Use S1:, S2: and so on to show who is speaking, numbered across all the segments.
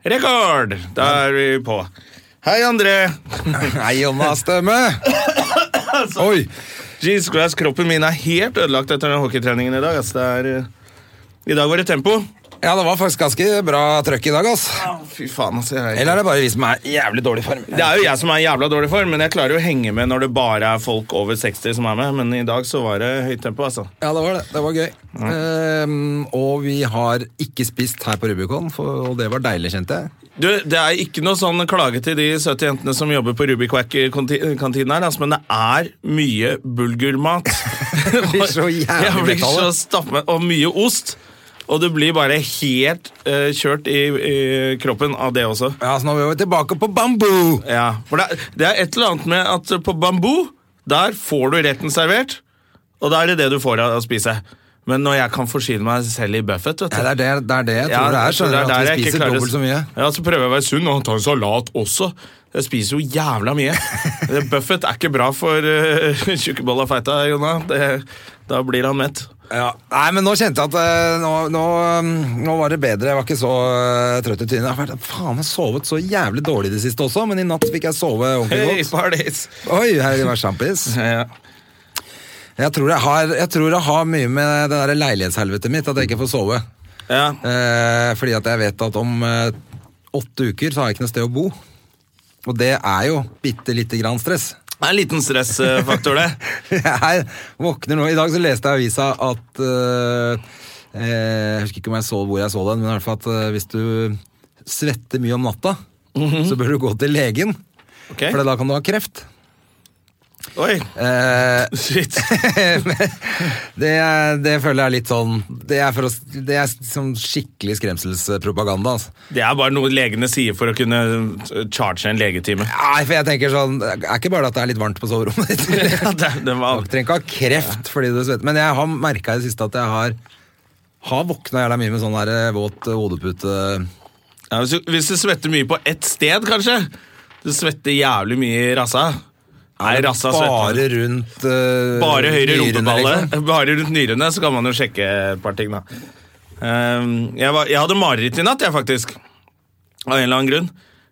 S1: Rekord! Da er vi på. Hei, André.
S2: Hei, Jonna Stemme! Oi!
S1: Jesus Christ, kroppen min er helt ødelagt etter den hockeytreningen i dag. ass. det er, eh, I dag var det tempo.
S2: Ja, det var faktisk ganske bra trøkk i dag, ass.
S1: Au, Fy faen, altså. Jeg,
S2: Eller er det bare vi som er i jævlig dårlig form?
S1: det er jo jeg som er i jævla dårlig form, men jeg klarer jo å henge med når det bare er folk over 60 som er med. Men i dag så var det høyt tempo, altså.
S2: Ja, det var det. Det var gøy. Ehm, og vi har ikke spist her på Rubicon, for, og det var deilig, kjente jeg.
S1: Du, Det er ikke noe sånn klage til de 70 jentene som jobber på Rubiquack-kantinen her, altså, men det er mye bulgurmat.
S2: Det blir så jævlig
S1: Jeg blir
S2: metall,
S1: så
S2: da.
S1: stappmett, og mye ost. Og det blir bare helt eh, kjørt i, i kroppen av det også.
S2: Ja, så nå er vi tilbake på bambu!
S1: Ja, for det, er- det er et eller annet med at på bambu, der får du retten servert, og da er det det du får av å spise. Men når jeg kan forsyne meg selv i Buffett, vet du.
S2: Ja, det er det, det er det jeg
S1: Ja,
S2: tror det er.
S1: det
S2: Skjønner du
S1: der
S2: at
S1: jeg
S2: vi
S1: ikke
S2: spiser
S1: klarer å-
S2: dobbelt så mye?
S1: Ja, så prøver jeg å være sunn og ta en salat også. Jeg spiser jo jævla mye. Det- Buffett er ikke bra for uh, tjukkebolla feita, Jonna. Det, da blir han mett.
S2: Ja. Nei, men nå kjente jeg at eh, nå, nå, mm, nå var det bedre. Jeg var ikke så eh, trøtt i trynet. Jeg har vært- faen meg sovet så jævlig dårlig i det siste også, men i natt fikk jeg sove
S1: Hey,
S2: ordentlig godt.
S1: parties!
S2: Oi, her er det vært sjampis.
S1: Ja.
S2: Jeg tror jeg, har, jeg tror jeg har mye med det der leilighetshelvetet mitt, at jeg ikke får sove.
S1: ja.
S2: Eh, fordi at jeg vet at om eh, åtte uker så har jeg ikke noe sted å bo. Og det er jo bitte lite grann stress.
S1: Det er en liten stressfaktor, det.
S2: Jeg våkner nå I dag så leste jeg i avisa at eh, eh, Jeg husker ikke om jeg så hvor jeg så den, men i hvert fall at eh, hvis du svetter mye om natta, så bør du gå til legen,
S1: Ok.
S2: for da kan du ha kreft.
S1: Oi,
S2: Eh,
S1: shit.
S2: det, er- det føler jeg er litt sånn Det er, for å, det er sånn skikkelig skremselspropaganda. Altså.
S1: Det er bare noe legene sier for å kunne eh, charge en legetime.
S2: Nei, for jeg tenker sånn Det er ikke bare at det er litt varmt på soverommet ditt.
S1: Ja, det- det var-
S2: Du trenger ikke ha kreft fordi du svetter. Men jeg har merka i det siste at jeg har har våkna jævla mye med sånn der eh, våt eh, hodepute.
S1: Ja, hvis, du, hvis du svetter mye på ett sted, kanskje Du svetter jævlig mye i rassa Nei, rassa svetter
S2: Bare rundt eh,
S1: Bare høyre
S2: nyrene,
S1: rumpeballe
S2: liksom.
S1: Bare rundt nyrene, så kan man jo sjekke et par ting da Ehm, jeg, var, jeg hadde mareritt i natt, jeg faktisk Av en eller annen grunn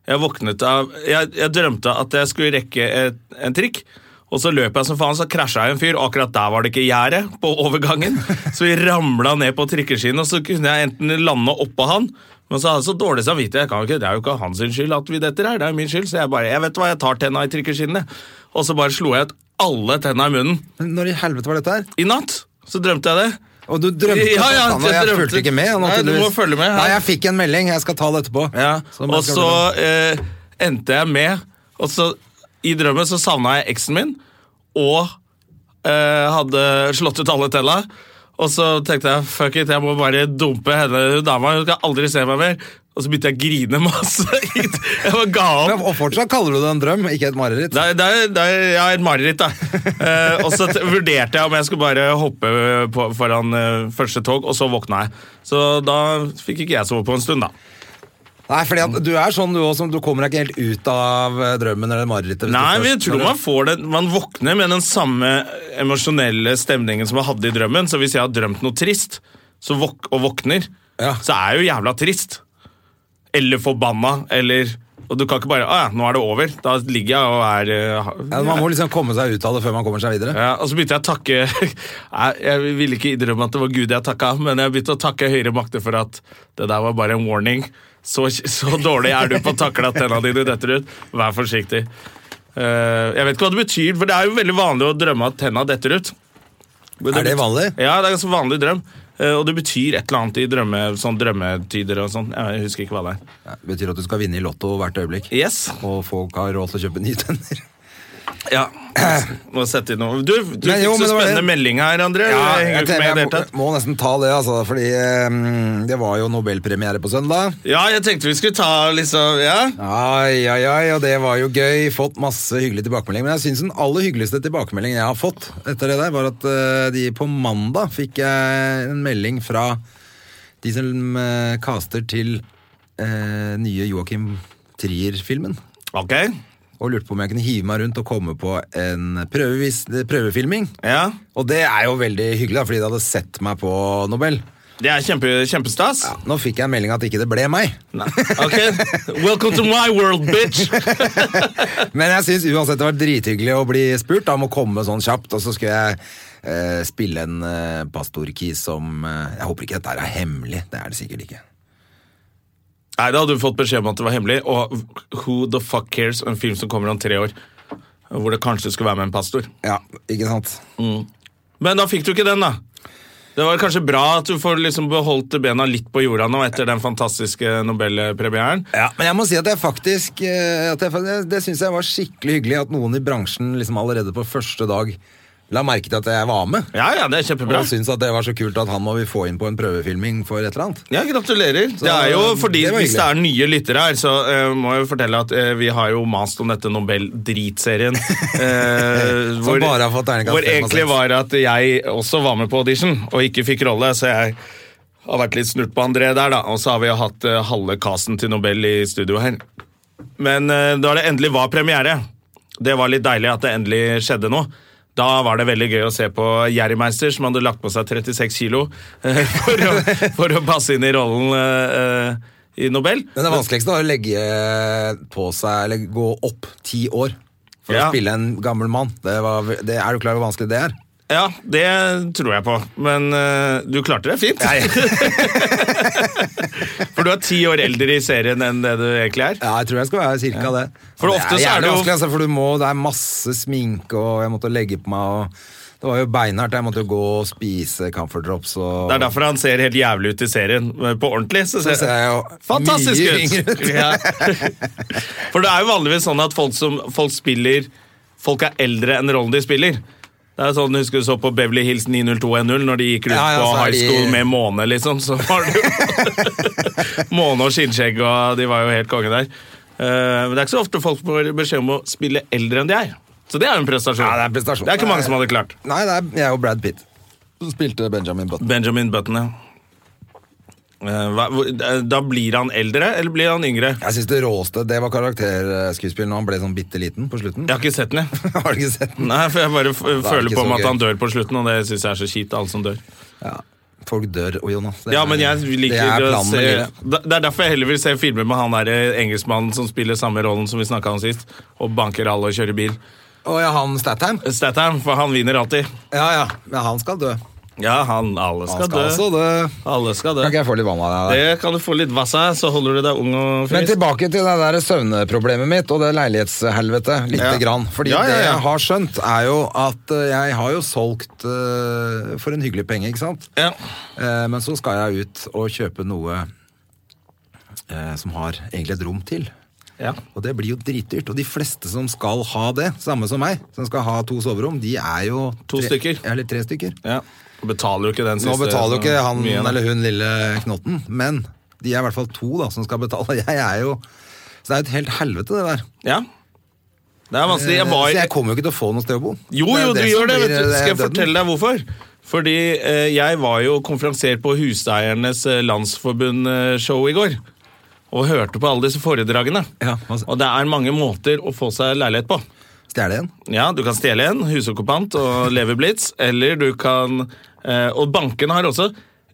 S1: Jeg våknet av Jeg, jeg drømte at jeg skulle rekke et, en trikk og så løp jeg som faen, så krasja jeg en fyr, og akkurat der var det ikke gjære på overgangen. Så vi ramla ned på trikkeskinnet, og så kunne jeg enten lande oppå han, men så hadde jeg så dårlig samvittighet. Jeg kan jo ikke, det er jo ikke hans skyld at vi detter her, det er jo min skyld. Så jeg bare, jeg vet hva, jeg tar tenna i trikkeskinnet. Og så bare slo jeg ut alle tenna i munnen.
S2: Men Når i helvete var dette her?
S1: I natt så drømte jeg det.
S2: Og du
S1: Ja,
S2: drømte
S1: ja,
S2: dette, og
S1: jeg
S2: jeg
S1: drømte.
S2: fulgte ikke med. og
S1: Nei, du
S2: naturligvis-
S1: må følge med her.
S2: Nei, jeg fikk en melding. Jeg skal ta det etterpå. Så
S1: Og
S2: må jeg-
S1: så eh, endte jeg med Og så i drømmen så savna jeg eksen min Og eh, hadde slått ut alle tella Og så tenkte jeg Fuck it, jeg må bare dumpe henne hun dama Hun skal aldri se meg mer Og så begynte jeg å grine masse Jeg var ga opp
S2: Men- Og fortsatt kaller du det en drøm, ikke et mareritt.
S1: det er, det er, det er, ja, et mareritt, da. Eh, og så t- vurderte jeg om jeg skulle bare hoppe på, foran eh, første tog, og så våkna jeg. Så da fikk ikke jeg sove på en stund, da.
S2: Nei, fordi at du er sånn du også, som du kommer deg ikke helt ut av eh, drømmen eller marerittet. hvis du
S1: Nei,
S2: først-
S1: men jeg tror
S2: når du-
S1: man får det Man våkner med den samme emosjonelle stemningen som jeg hadde i drømmen. Så hvis jeg har drømt noe trist så våk og våkner,
S2: Ja.
S1: så er jeg jo jævla trist. Eller forbanna, eller Og du kan ikke bare Å ja, nå er det over. Da ligger jeg og er eh, ha-
S2: Ja, man må liksom komme seg ut av det før man kommer seg videre.
S1: Ja, og så begynte jeg å takke Nei, Jeg ville ikke innrømme at det var Gud jeg takka, men jeg begynte å takke høyere makter for at det der var bare en warning. Så, så dårlig er du på å takle at tenna dine detter ut. Vær forsiktig. Eh, jeg vet ikke hva det betyr, for det er jo veldig vanlig å drømme at tenna detter ut. Men
S2: Er det
S1: bet-
S2: vanlig?
S1: Ja, det er en ganske vanlig drøm. Eh, og det betyr et eller annet i drømme, sånn drømmetyder og sånn. Jeg husker ikke hva det er.
S2: Ja, Det betyr at du skal vinne i lotto hvert øyeblik.
S1: Yes.
S2: Og folk har råd til å kjøpe nye tenner.
S1: Ja. Må sette inn noe. Du, du
S2: Men jo,
S1: fikk så
S2: men det var
S1: spennende
S2: det-
S1: melding her, André.
S2: Ja,
S1: jeg henger jo ikke
S2: tenker
S1: med i det
S2: jeg
S1: hele tatt.
S2: må, må nesten ta det, altså, fordi eh, det var jo nobelpremiere på søndag.
S1: Ja, jeg tenkte vi skulle ta liksom Ja.
S2: Ai, ai, ai, og det var jo gøy. Fått masse hyggelig tilbakemelding. Men jeg syns den aller hyggeligste tilbakemeldingen jeg har fått etter det der, var at eh, de på mandag fikk jeg en melding fra de som eh, caster til eh, nye Joakim Trier-filmen.
S1: Ok.
S2: Og lurte på om jeg kunne hive meg rundt og komme på en prøvevis, prøvefilming.
S1: Ja.
S2: Og det er jo veldig hyggelig, da, fordi de hadde sett meg på Nobel.
S1: Det er kjempe, kjempestas.
S2: Ja, nå fikk jeg en melding at ikke det ble meg.
S1: Nei. Ok. Welcome to my world, bitch!
S2: Men jeg syns uansett det var drithyggelig å bli spurt da, om å komme sånn kjapt, og så skulle jeg eh, spille en eh, pastorkis som eh, Jeg håper ikke dette her er hemmelig. Det er det sikkert ikke.
S1: Nei, Da hadde du fått beskjed om at det var hemmelig. Og Who the fuck cares? En film som kommer om tre år. Hvor det kanskje skulle være med en pastor.
S2: Ja, ikke sant?
S1: Men da fikk du ikke den, da. Det var kanskje bra at du får liksom beholdt bena litt på jorda nå etter den fantastiske nobelpremieren.
S2: Ja, Men jeg må si at jeg faktisk eh, at jeg, fa- Det, det syns jeg var skikkelig hyggelig at noen i bransjen liksom allerede på første dag la merke til at jeg var med.
S1: Ja, ja, det er kjempebra.
S2: Og syntes at det var så kult at han må vi få inn på en prøvefilming for et eller annet.
S1: Ja, gratulerer. det er jo fordi
S2: det var
S1: Hvis det
S2: hyggelig.
S1: er nye lyttere her, så eh, må jeg jo fortelle at eh, vi har jo mast om dette Nobel-dritserien. eh,
S2: Som bare har fått
S1: hvor
S2: terningkast fem og
S1: egentlig
S2: seks.
S1: var at jeg også var med på audition og ikke fikk rolle, så jeg har vært litt snurt på André der, da. Og så har vi jo hatt eh, halve casten til Nobel i studio her. Men eh, da det endelig var premiere, det var litt deilig at det endelig skjedde noe. Da var det veldig gøy å se på Jerrymeister, som hadde lagt på seg 36 kilo eh, for å, for å passe inn i rollen eh, eh, i Nobel.
S2: Men det vanskeligste var å legge på seg, eller gå opp ti år for
S1: Ja.
S2: å spille en gammel mann. Det, var, det Er du klar over hvor vanskelig det er?
S1: Ja, det tror jeg på. Men eh, du klarte deg fint. for du er ti år eldre i serien enn det du egentlig er.
S2: Ja, jeg tror jeg skal være cirka det.
S1: For ofte
S2: det
S1: så
S2: er
S1: er
S2: jævlig
S1: det jo-
S2: vanskelig, altså, for du må, det er masse sminke, og jeg måtte legge på meg og Det var jo beinhardt. Jeg måtte jo gå og spise Comfort Drops og
S1: Det er derfor han ser helt jævlig ut i serien. Men på ordentlig så ser,
S2: Så ser jeg jo
S1: fantastisk
S2: mye
S1: ut!
S2: yngre ut.
S1: Ja. For det er jo vanligvis sånn at folk som folk spiller Folk er eldre enn rollen de spiller. Det er sånn, Husker du så på Beverly Hills 90210 når de gikk rundt
S2: Ja, ja,
S1: på
S2: så er
S1: high
S2: de-
S1: school med måne, liksom? Så var det jo Måne og skinnskjegg, og de var jo helt konge der. Eh, Men det er ikke så ofte folk får beskjed om å spille eldre enn de er. Så det er jo en prestasjon.
S2: Ja, det er en prestasjon.
S1: Det er ikke mange som hadde klart.
S2: Nei, det er jeg og Brad Pitt. Så spilte Benjamin Button.
S1: Benjamin Button, ja. Eh, hva- hvor- eh, Da blir han eldre, eller blir han yngre?
S2: Jeg syns det råeste det var karakterskuespill når han ble sånn bitte liten på slutten.
S1: Jeg har ikke sett den, jeg.
S2: Har du ikke sett den?
S1: Nei, for jeg bare f føler
S2: ikke
S1: på
S2: så
S1: meg at
S2: gøy.
S1: han dør på slutten, og det syns jeg er så kjipt, alle som dør.
S2: Ja. Folk dør, og Jonas. Det
S1: Ja,
S2: er-
S1: men jeg
S2: det
S1: liker
S2: er
S1: å
S2: planen med
S1: se
S2: livet.
S1: Da- Det er derfor jeg heller vil se filmer med han der eh, engelskmannen som spiller samme rollen som vi snakka om sist, og banker alle og kjører bil.
S2: Å ja, han Statham?
S1: Statham, for han vinner alltid.
S2: Ja, ja. Men han skal dø.
S1: Ja, han Alle
S2: Han
S1: skal,
S2: skal også
S1: dø.
S2: dø.
S1: Alle skal dø.
S2: Kan ikke jeg få litt vann av deg? da?
S1: Det kan du få litt vass av, så holder du deg ung og
S2: Men
S1: frisk.
S2: tilbake til det der søvneproblemet mitt og det leilighetshelvetet. lite
S1: Ja.
S2: grann. Fordi
S1: Ja, ja,
S2: det
S1: ja.
S2: jeg har skjønt, er jo at eh, jeg har jo solgt eh, for en hyggelig penge, ikke sant?
S1: Ja.
S2: Eh, men så skal jeg ut og kjøpe noe eh, som har egentlig et rom til.
S1: Ja.
S2: Og det blir jo dritdyrt. Og de fleste som skal ha det, samme som meg, som skal ha to soverom, de er jo
S1: To
S2: tre,
S1: stykker.
S2: Eller tre stykker.
S1: Ja. Betaler jo ikke den siste. sånn
S2: Nå betaler jo ikke han
S1: mye, da.
S2: eller hun lille knotten, men de er i hvert fall to da, som skal betale. Jeg er jo Så det er jo et helt helvete, det der.
S1: Ja. Det er vanskelig. Altså, Jeg
S2: Så jeg
S1: var...
S2: kommer jo ikke til å få noe sted å bo.
S1: Jo,
S2: Det er
S1: jo, du
S2: som
S1: gjør det.
S2: blir,
S1: Vet du.
S2: eh,
S1: Skal jeg
S2: døden.
S1: fortelle deg hvorfor? Fordi eh, jeg var jo konferansier på Huseiernes eh, Landsforbund-show i går. Og hørte på alle disse foredragene.
S2: Ja, hva-
S1: Og det er mange måter å få seg leilighet på.
S2: Stjele en?
S1: Ja, du kan stjele en, husokkupant og leve blitz, eller du kan eh, Og bankene har også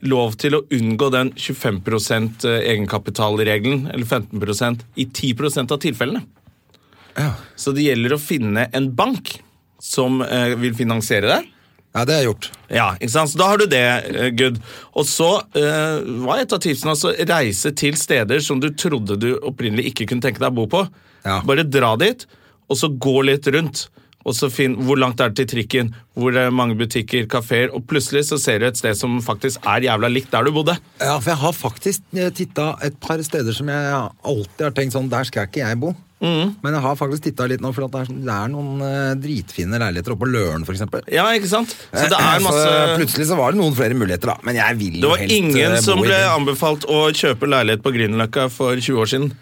S1: lov til å unngå den 25 egenkapitalregelen, eller 15 i 10 av tilfellene. Så det gjelder å finne en bank som eh, vil finansiere deg.
S2: Ja, det har jeg gjort.
S1: Ja, ikke sant? Så da har du det, eh, good. Og så eh, var et av tipsene altså reise til steder som du trodde du opprinnelig ikke kunne tenke deg å bo på.
S2: Ja.
S1: Bare dra dit, og så gå litt rundt. Og så finn, Hvor langt er det til trikken? Hvor er det mange butikker, kafeer? Og plutselig så ser du et sted som faktisk er jævla likt der du bodde.
S2: eh, Ja, for jeg har faktisk titta et par steder som jeg alltid har tenkt sånn Der skal ikke jeg bo.
S1: Mm.
S2: Men jeg har faktisk titta litt nå, for at det er, sånn- det er noen eh, dritfine leiligheter oppe på Løren, f.eks.
S1: Ja, ikke sant? Så det er masse
S2: Eh, Plutselig så var det noen flere muligheter, da. Men jeg vil
S1: Det
S2: jo
S1: var
S2: helst
S1: ingen
S2: eh,
S1: som
S2: bo i
S1: ble
S2: den.
S1: anbefalt å kjøpe leilighet på Grünerløkka for 20 år siden.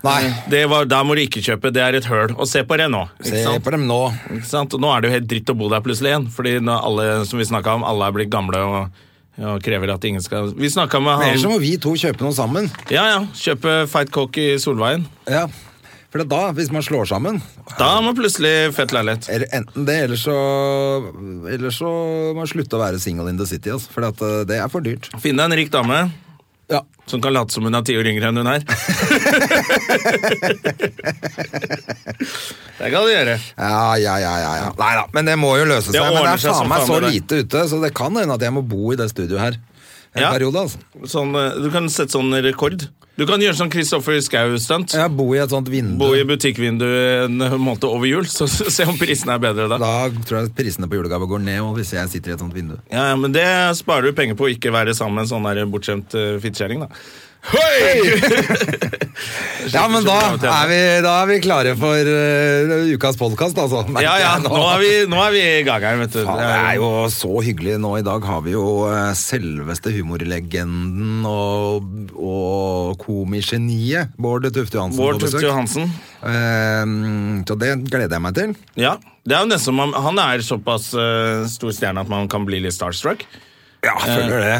S2: Nei,
S1: Det var, der må du ikke kjøpe, det er et høl. Og se på det nå. Ikke
S2: se
S1: sant? Mm.
S2: på dem nå.
S1: Ikke sant? Og nå er det jo helt dritt å bo der plutselig igjen, fordi nå alle som vi snakket om, alle er blitt gamle og, og krever at ingen skal Vi snakka med
S2: Ellers så
S1: han
S2: må vi to kjøpe noe sammen.
S1: Ja, ja. Kjøpe Fight Coke i Solveien.
S2: Ja, For da, hvis man slår sammen
S1: Da er man plutselig fett leilighet.
S2: eller Enten det, eller så Eller så må man slutte å være single in the city. Altså, for at, eh, det er for dyrt.
S1: Finn deg en rik dame
S2: Ja.
S1: som kan late som hun er ti år yngre enn hun er. det kan du gjøre.
S2: Ja, ja, ja, ja, ja. Nei da, men det må jo løse seg.
S1: Det
S2: men det
S1: ordner
S2: er
S1: seg som
S2: faen meg
S1: faen
S2: så
S1: med det.
S2: lite ute, så det kan hende at jeg må bo i det studioet her en
S1: Ja.
S2: periode. altså.
S1: Sånn, eh, du kan sette sånn rekord. Du kan gjøre sånn Kristoffer Schou-stunt.
S2: Jeg bor i et sånt vindu.
S1: Bo i butikkvinduet en måned over jul, så se om prisene er bedre da.
S2: Da tror jeg prisene på julegave går ned og hvis jeg sitter i et sånt vindu.
S1: Ja, ja, men det sparer du penger på å ikke være sammen med en sånn der bortskjemt uh, fittkjerring, da. Hei!
S2: Ja, men da er vi, da er vi klare for eh, ukas podkast, altså. Merker
S1: Ja, ja,
S2: jeg
S1: nå er vi, nå er vi i gang her, vet du.
S2: Faen, det er jo så hyggelig. Nå i dag har vi jo eh, selveste humorlegenden og, og komigeniet Bård Tufte Johansen
S1: Bård
S2: på besøk.
S1: Tufte Johansen.
S2: Eh, så det gleder jeg meg til.
S1: Ja, det er jo nesten som om han er såpass eh, stor stjerne at man kan bli litt starstruck.
S2: Ja, føler det.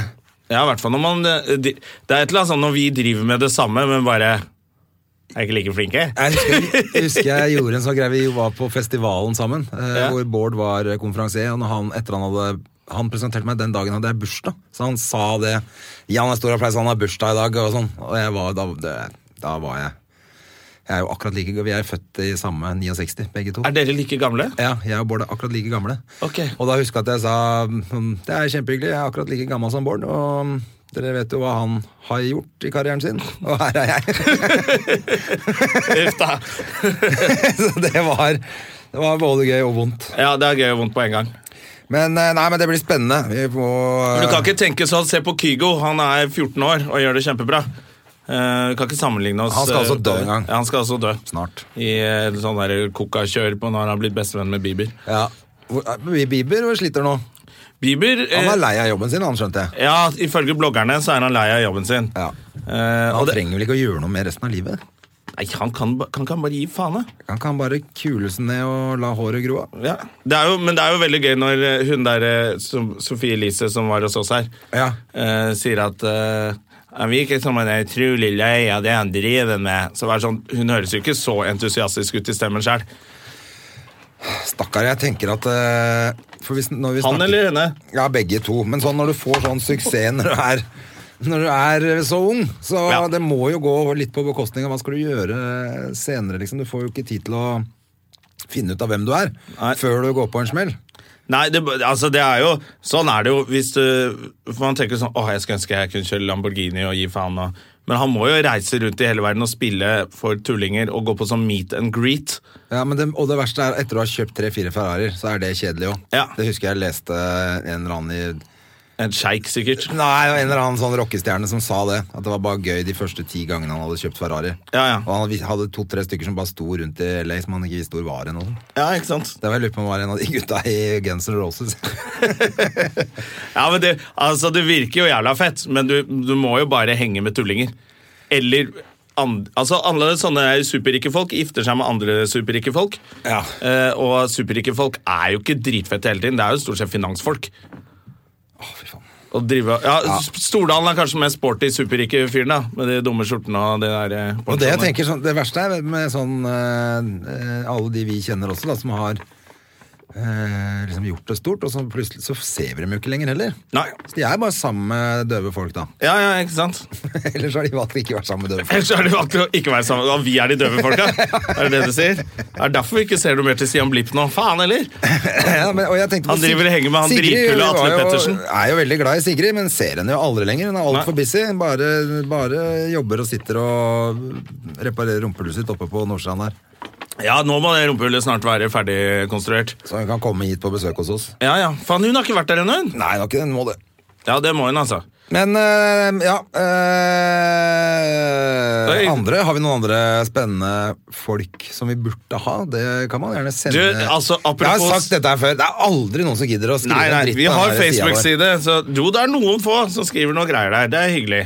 S1: Ja, i hvert fall når man eh, de- Det er et eller annet sånn når vi driver med det samme, men bare er ikke like flinke.
S2: Jeg husker, jeg husker jeg gjorde en sånn greie. Vi var på festivalen sammen, eh,
S1: Ja.
S2: hvor Bård var konferansier. Og når han, etter han hadde han presenterte meg den dagen hadde jeg bursdag, så han sa det. Gi han en stor applaus, han har bursdag i dag, og sånn. Og jeg var, da, det, da var jeg Jeg er jo akkurat like Vi er født i samme 69, begge to.
S1: Er dere like gamle?
S2: Ja, jeg og Bård er akkurat like gamle.
S1: Ok.
S2: Og da husker jeg at jeg sa mm, det er kjempehyggelig, jeg er akkurat like gammel som Bård. Og mm, dere vet jo hva han har gjort i karrieren sin, og her er jeg.
S1: Uff da.
S2: Så det var, det var både gøy og vondt.
S1: Ja, det er gøy og vondt på en gang.
S2: Men eh, nei, men det blir spennende. Vi må
S1: Men
S2: Eh.
S1: du kan ikke tenke sånn, se på Kygo, han er 14 år og gjør det kjempebra. Eh, Du kan ikke sammenligne oss
S2: Han skal altså
S1: eh,
S2: dø en gang.
S1: Ja, han skal altså dø.
S2: Snart.
S1: I eh, sånn der koka-kjør på når han har blitt bestevenn med Bieber.
S2: Ja. Hvor- eh, Bieber sliter nå.
S1: Bieber eh,
S2: Han er lei av jobben sin, han skjønte jeg.
S1: Ja, ifølge bloggerne så er han lei av jobben sin.
S2: Ja.
S1: Eh,
S2: Han
S1: og det,
S2: trenger vel ikke å gjøre noe med resten av livet?
S1: nei, han kan, ba- kan ikke han bare gi faen, da?
S2: Han kan bare kule seg ned og la håret gro av.
S1: Ja. Det er jo, men det er jo veldig gøy når eh, hun der eh, som, Sofie Elise, som var hos oss her,
S2: Ja.
S1: eh, sier at eh, han virker som han er utrolig lei av det han driver med. Så vær sånn, Hun høres jo ikke så entusiastisk ut i stemmen sjøl.
S2: Stakkar, jeg tenker at eh, for hvis, når vi
S1: Han
S2: snakker-
S1: eller henne?
S2: Ja, begge to. Men sånn når du får sånn suksess når du er, når du er så ung, så
S1: Ja.
S2: det må jo gå litt på bekostning av hva skal du gjøre senere, liksom. Du får jo ikke tid til å finne ut av hvem du er,
S1: Nei.
S2: før du går på en smell.
S1: Nei, det, altså det er jo Sånn er det jo hvis du For man tenker sånn Åh, jeg skulle ønske jeg kunne kjøre Lamborghini og gi faen og Men han må jo reise rundt i hele verden og spille for tullinger og gå på sånn meet and greet.
S2: Ja, men det, Og det verste er etter å ha kjøpt tre-fire Ferrarier, så er det kjedelig òg.
S1: Ja.
S2: Det husker jeg leste en eller annen i
S1: En sjeik, sikkert.
S2: Nei, det var en eller annen sånn rockestjerne som sa det. At det var bare gøy de første ti gangene han hadde kjøpt Ferrari.
S1: Ja, ja.
S2: Og han hadde- hadde to-tre stykker som bare sto rundt i LA som han ikke visste hvor var hen. og sånn.
S1: Ja, ikke sant?
S2: Det var jeg lurer på om var en av de gutta i Guns N' Roses.
S1: Ja, men det, altså, det virker jo jævla fett, men du, du må jo bare henge med tullinger. Eller and, altså, alle sånne superrike folk gifter seg med andre superrike folk.
S2: Ja.
S1: Eh, og superrike folk er jo ikke dritfette hele tiden, det er jo stort sett finansfolk.
S2: Å, fy faen.
S1: Å drive, ja, Stordalen er kanskje den mest sporty superrike fyren, da. Med de dumme skjortene og det der. eh,
S2: Og det jeg
S1: ponchoene.
S2: tenker sånn, det verste er med sånn eh, eh, alle de vi kjenner også, da, som har eh, liksom gjort det stort, og så plutselig så ser vi dem jo ikke lenger heller.
S1: Nei.
S2: Så de er bare sammen med døve folk, da.
S1: Ja, ja, ikke sant?
S2: Ellers har de valgt å ikke vært sammen med døve folk.
S1: Ellers er det jo alltid å ikke være sammen. Ja, vi er de døve folka. Er det det du sier? Det er derfor vi ikke ser noe mer til Stian Blipp nå. Faen heller!
S2: Ja, men, og jeg tenkte på
S1: Han
S2: Sig-
S1: driver og henger med han
S2: Sigrid
S1: dritkule Atle
S2: var jo-
S1: Pettersen.
S2: Er jo veldig glad i Sigrid, men ser henne jo aldri lenger. Hun er
S1: Nei.
S2: altfor busy. Bare, bare jobber og sitter og reparerer rumpehullet sitt oppe på Nordstrand her.
S1: Ja, nå må det rumpehullet snart være ferdig konstruert.
S2: Så hun kan komme hit på besøk hos oss.
S1: Ja, ja. Faen, hun har ikke vært der ennå, hun.
S2: Nei, det eh, var ikke den må det.
S1: Ja, det må hun, altså.
S2: Men øh, ja øh,
S1: Oi.
S2: andre, har vi noen andre spennende folk som vi burde ha? Det kan man gjerne sende.
S1: Du, altså, apropos-
S2: Jeg har sagt dette her før. Det er aldri noen som gidder å skrive
S1: Nei, nei,
S2: dritt
S1: vi
S2: av
S1: har
S2: den her siden vår.
S1: Facebook-side, så jo, det er noen få som skriver noe greier der. Det er hyggelig.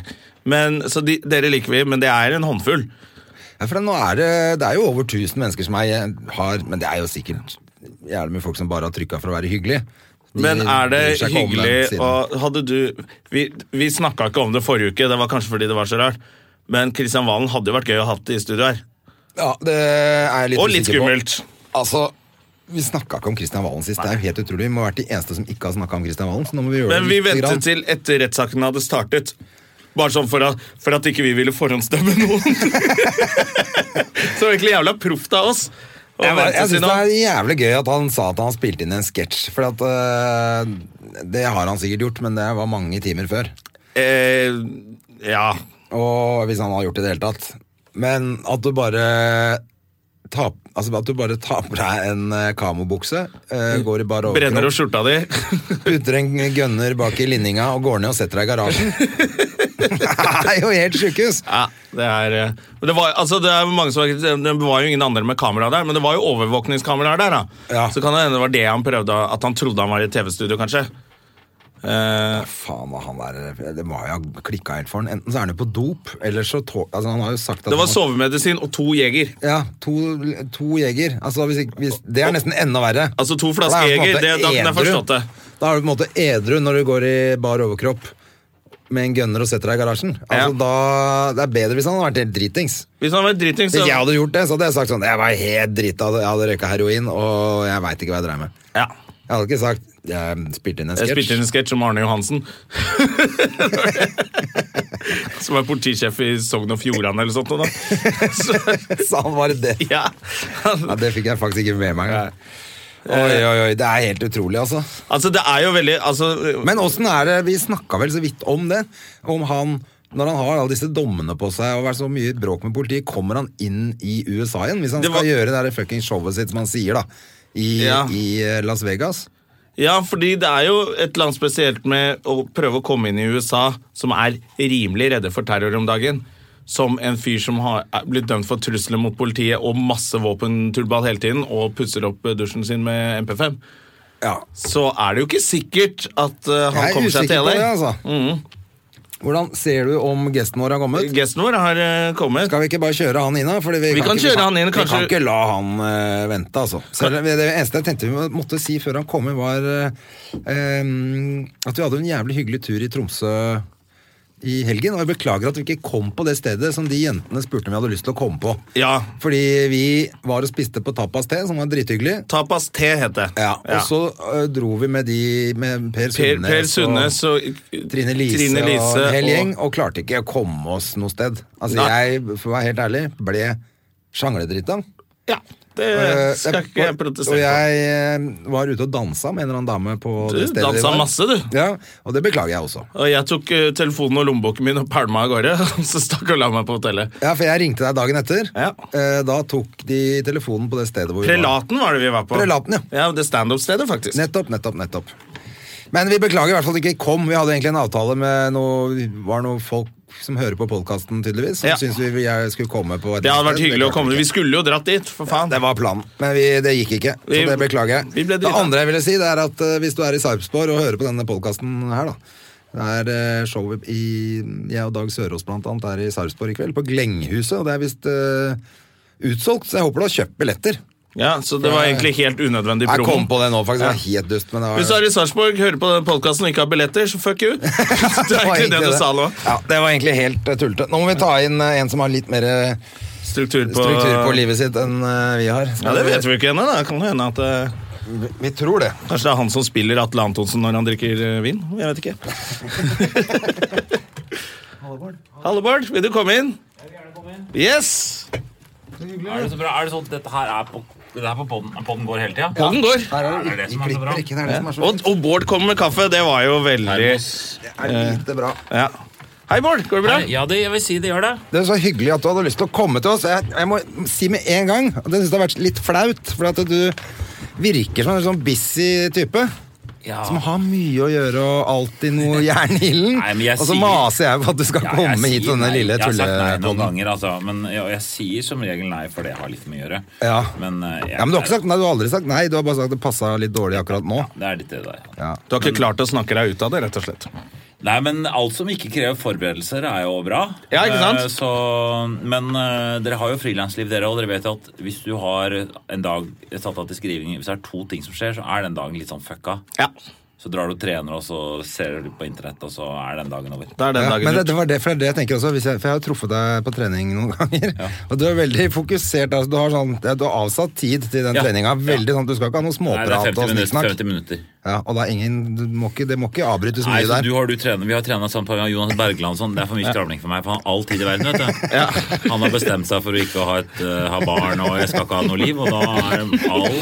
S1: Men, så de, dere liker vi, men det er en håndfull.
S2: Ja, for nå er det, det er jo over 1000 mennesker som er, har Men det er jo sikkert jævlig mye folk som bare har trykka for å være hyggelig. De
S1: Men er det
S2: bryr seg ikke om den
S1: hyggelig
S2: siden.
S1: å Hadde du Vi, vi snakka ikke om det forrige uke, det var kanskje fordi det var så rart. Men Kristian Valen hadde jo vært gøy å ha i studio her.
S2: Ja, det er jeg litt
S1: Og litt
S2: usikker på.
S1: skummelt.
S2: Altså, vi snakka ikke om Kristian Valen sist. Det er jo helt utrolig. Vi må ha vært de eneste som ikke har snakka om Kristian Valen. Så nå må vi gjøre
S1: Men vi
S2: det lite
S1: ventet
S2: grann.
S1: til etter rettssaken hadde startet. Bare sånn for at, for at ikke vi ville forhåndsdømme noen. så egentlig jævla proft av oss. å
S2: Jeg,
S1: vente
S2: jeg
S1: til
S2: synes det
S1: nå.
S2: er jævlig gøy at han sa at han spilte inn en sketsj. For at, øh, det har han sikkert gjort, men det var mange timer før.
S1: Eh, ja.
S2: Og hvis han har gjort det i det hele tatt. Men at du bare tap, altså at du bare tar på deg en eh, kamobukse, eh, går i bar
S1: Brenner
S2: overkropp,
S1: opp skjorta di.
S2: putter en gønner bak i linninga og går ned og setter deg i garasjen. det er jo helt sjukehus!
S1: Ja, det er eh, men det var, altså det er mange som har kritisert- Det var jo ingen andre med kamera der, men det var jo overvåkningskameraer der. da
S2: Ja.
S1: Så kan det hende det var det han prøvde At han trodde han var i et TV-studio, kanskje. Eh,
S2: Faen, hva han der Det må jo ha klikka helt for han. Enten så er han jo på dop, eller så tå- altså, Han har jo sagt at
S1: det var
S2: han,
S1: sovemedisin og to jeger.
S2: Ja, to, to jeger. Altså, hvis, ikke- hvis, det er nesten enda verre.
S1: Altså, to
S2: For da er
S1: flasker
S2: du på en
S1: Jeger,
S2: måte
S1: det- da kunne jeg
S2: edru.
S1: forstått det.
S2: Da er du på en måte edru når du går i bar overkropp med en gunner og setter deg i garasjen. Altså,
S1: Ja.
S2: da, det er bedre hvis han hadde vært helt dritings.
S1: Hvis han var driting, så
S2: Hvis jeg hadde gjort det, så hadde jeg sagt sånn Jeg var helt drita, jeg hadde røyka heroin, og jeg veit ikke hva jeg dreier med.
S1: ja.
S2: Jeg hadde ikke sagt Jeg spilte inn en
S1: Jeg spilte
S2: sketsj.
S1: inn en sketsj om Arne Johansen. Som er politisjef i Sogn og Fjordane eller sånt. noe Da. Så,
S2: Sa han bare det.
S1: ja.
S2: Ja, det fikk jeg faktisk ikke med meg. engang. Oi, oi, oi. Det er helt utrolig, altså.
S1: Altså, det er jo veldig altså,
S2: Men åssen er det Vi snakka vel så vidt om det. Om han når han har alle disse dommene på seg og vært så mye bråk med politiet, kommer han inn i USA igjen? Hvis han
S1: Det var-
S2: skal gjøre det der fucking showet sitt som han sier, da. I,
S1: Ja.
S2: i eh, Las Vegas.
S1: Ja, fordi det er jo et land spesielt med å prøve å komme inn i USA, som er rimelig redde for terror om dagen. Som en fyr som har er blitt dømt for trusler mot politiet og masse våpentullball hele tiden, og pusser opp dusjen sin med MP5,
S2: Ja.
S1: så er det jo ikke sikkert at eh, han
S2: Jeg er
S1: kommer seg
S2: usikker
S1: til Mm.
S2: på det,
S1: LA.
S2: altså. Hvordan ser du om gesten vår har kommet?
S1: Gesten vår har eh, kommet.
S2: Skal vi ikke bare kjøre han inn, da? Fordi vi,
S1: Vi kan
S2: ikke,
S1: kjøre han inn,
S2: vi kan
S1: kanskje-
S2: ikke la han eh, vente, altså. Selv, det eneste jeg tenkte vi måtte si før han kom, var eh, em, at vi hadde en jævlig hyggelig tur i Tromsø i helgen. Og jeg beklager at vi ikke kom på det stedet som de jentene spurte om vi hadde lyst til å komme på.
S1: Ja.
S2: Fordi vi var og spiste på tapas te, som var drithyggelig.
S1: Tapas T heter det.
S2: Ja, Og så eh, dro vi med de med
S1: Per,
S2: Per Sundnes,
S1: per Sundnes
S2: og
S1: og eh,
S2: Trine Lise,
S1: Trine
S2: og
S1: Lise
S2: en hel
S1: og-
S2: gjeng, og klarte ikke å komme oss noe sted. Altså,
S1: Nei.
S2: jeg, for å være helt ærlig, ble sjangledrittan.
S1: Ja, det
S2: Eh,
S1: skal
S2: jeg-
S1: ikke jeg
S2: Og
S1: protestere på.
S2: jeg eh, var ute og dansa med en eller annen dame på
S1: Du
S2: det stedet. vi
S1: dansa
S2: var.
S1: masse, du.
S2: Ja, og det beklager jeg også.
S1: Og jeg tok eh, telefonen og lommeboken min og pælma av gårde, og så stakk og la meg på hotellet.
S2: Ja, for jeg ringte deg dagen etter.
S1: Ja.
S2: Eh, Da tok de telefonen på det stedet hvor
S1: Prelaten var det vi var på.
S2: Prelaten, ja.
S1: Ja, Det standup-stedet, faktisk.
S2: Nettopp, nettopp, nettopp. Men vi beklager i hvert fall at vi ikke kom. Vi hadde egentlig en avtale med noe, var noe folk som hører på podkasten, tydeligvis. Som
S1: Ja.
S2: syntes vi vi- jeg skulle komme på et
S1: det hadde vært
S2: sted.
S1: hyggelig å
S2: klarte
S1: komme.
S2: vi
S1: Vi
S2: ikke.
S1: skulle jo dratt dit, for faen.
S2: Det var planen, men vi, det gikk ikke. Så
S1: Vi-
S2: det beklager jeg.
S1: vi ble
S2: det
S1: drita.
S2: andre jeg ville si, det er at eh, hvis du er i Sarpsborg og hører på denne podkasten her, da. Det er eh, show i Jeg og Dag Sørås blant annet er i Sarpsborg i kveld, på Glenghuset. Og det er visst eh, utsolgt, så jeg håper du har kjøpt billetter.
S1: Ja, Så det var egentlig helt unødvendig
S2: Jeg kom
S1: promo.
S2: på det nå, faktisk. Det var helt dust, men det var
S1: Hvis du er i Sarpsborg, hører på den podkasten og ikke har billetter, så fuck you. Det er egentlig det du sa nå.
S2: Ja, det var egentlig helt eh, tullete. Nå må vi ta inn eh, en som har litt mer eh,
S1: Struktur på,
S2: struktur på livet sitt enn eh, vi har.
S1: Ja, Det vet vi ikke ennå. da. Kan det hende at eh,
S2: Vi, vi tror det.
S1: Kanskje det er han som spiller Atle Antonsen når han drikker eh, vin? Jeg vet ikke. Halle, Bård. Vil du komme inn? Yes!
S3: Er det så bra? Er det sånn at dette her er på, det her på podden, podden går hele tida?
S1: Podden går.
S2: Her er
S3: Er det
S2: det,
S3: det
S2: vi
S3: som er så bra?
S2: klipper ikke, det er det som er så
S1: Og, og Bård kommer med kaffe. Det var jo veldig
S2: Det er lite bra.
S1: ja. Hei, Bård. Går det bra?
S3: Ja, det, jeg vil si det gjør det.
S2: Det er så hyggelig at du hadde lyst til å komme til oss. Jeg, jeg må si med en gang at jeg syns det har vært litt flaut. For at du virker som en sånn busy type.
S3: Ja.
S2: Som har mye å gjøre og alltid noe jern i
S3: Nei, men
S2: ilden.
S3: jeg
S2: Og så
S3: sier-
S2: maser jeg på at du skal
S3: Ja, jeg
S2: komme hit
S3: sier
S2: på denne
S3: nei.
S2: lille
S3: Jeg har sagt nei noen
S2: tullepodden.
S3: ganger, altså. Men ja, jeg, sier som regel nei, for det har litt med å gjøre.
S2: Ja.
S3: Men, eh, jeg,
S2: Ja, men du har ikke sagt nei, du har aldri sagt nei, du har bare sagt det passa litt dårlig akkurat nå.
S3: Det er litt det der.
S2: Ja.
S1: Du har ikke klart å snakke deg ut av det, rett og slett.
S3: Nei, men alt som ikke krever forberedelser, er jo bra.
S1: Ja, ikke sant?
S3: Eh, Så, men eh, dere har jo frilansliv, dere, og dere vet jo at hvis du har en dag satt av til skriving, hvis det er to ting som skjer, så er den dagen litt sånn fucka.
S1: Ja,
S3: Så drar du og trener, og så ser du litt på internett, og så er den dagen over.
S1: det er den
S2: Ja,
S1: dagen
S2: men det,
S1: gjort.
S2: det var det, for det er det jeg tenker også, hvis jeg, for jeg har jo truffet deg på trening noen ganger, og du er veldig fokusert, altså, du, har sånn, ja, du har avsatt tid til den
S3: Ja.
S2: treninga, veldig
S3: Ja.
S2: sånn, du skal ikke ha noe
S3: Nei, det
S2: småprat
S3: er
S2: og
S3: 50 minutter.
S2: snikksnakk.
S3: 50 minutter.
S2: Ja, og det er ingen, du må ikke, det må ikke avbrytes
S3: Nei,
S2: mye
S3: så
S2: der.
S3: du har du trener, Vi har trena sammen på Jonas Bergland og sånn. Det er for mye skravling for meg. For han har all tid i verden, vet du. Han har bestemt seg for å ikke ha, et, eh, ha barn, og jeg skal ikke ha noe liv. Og da er det all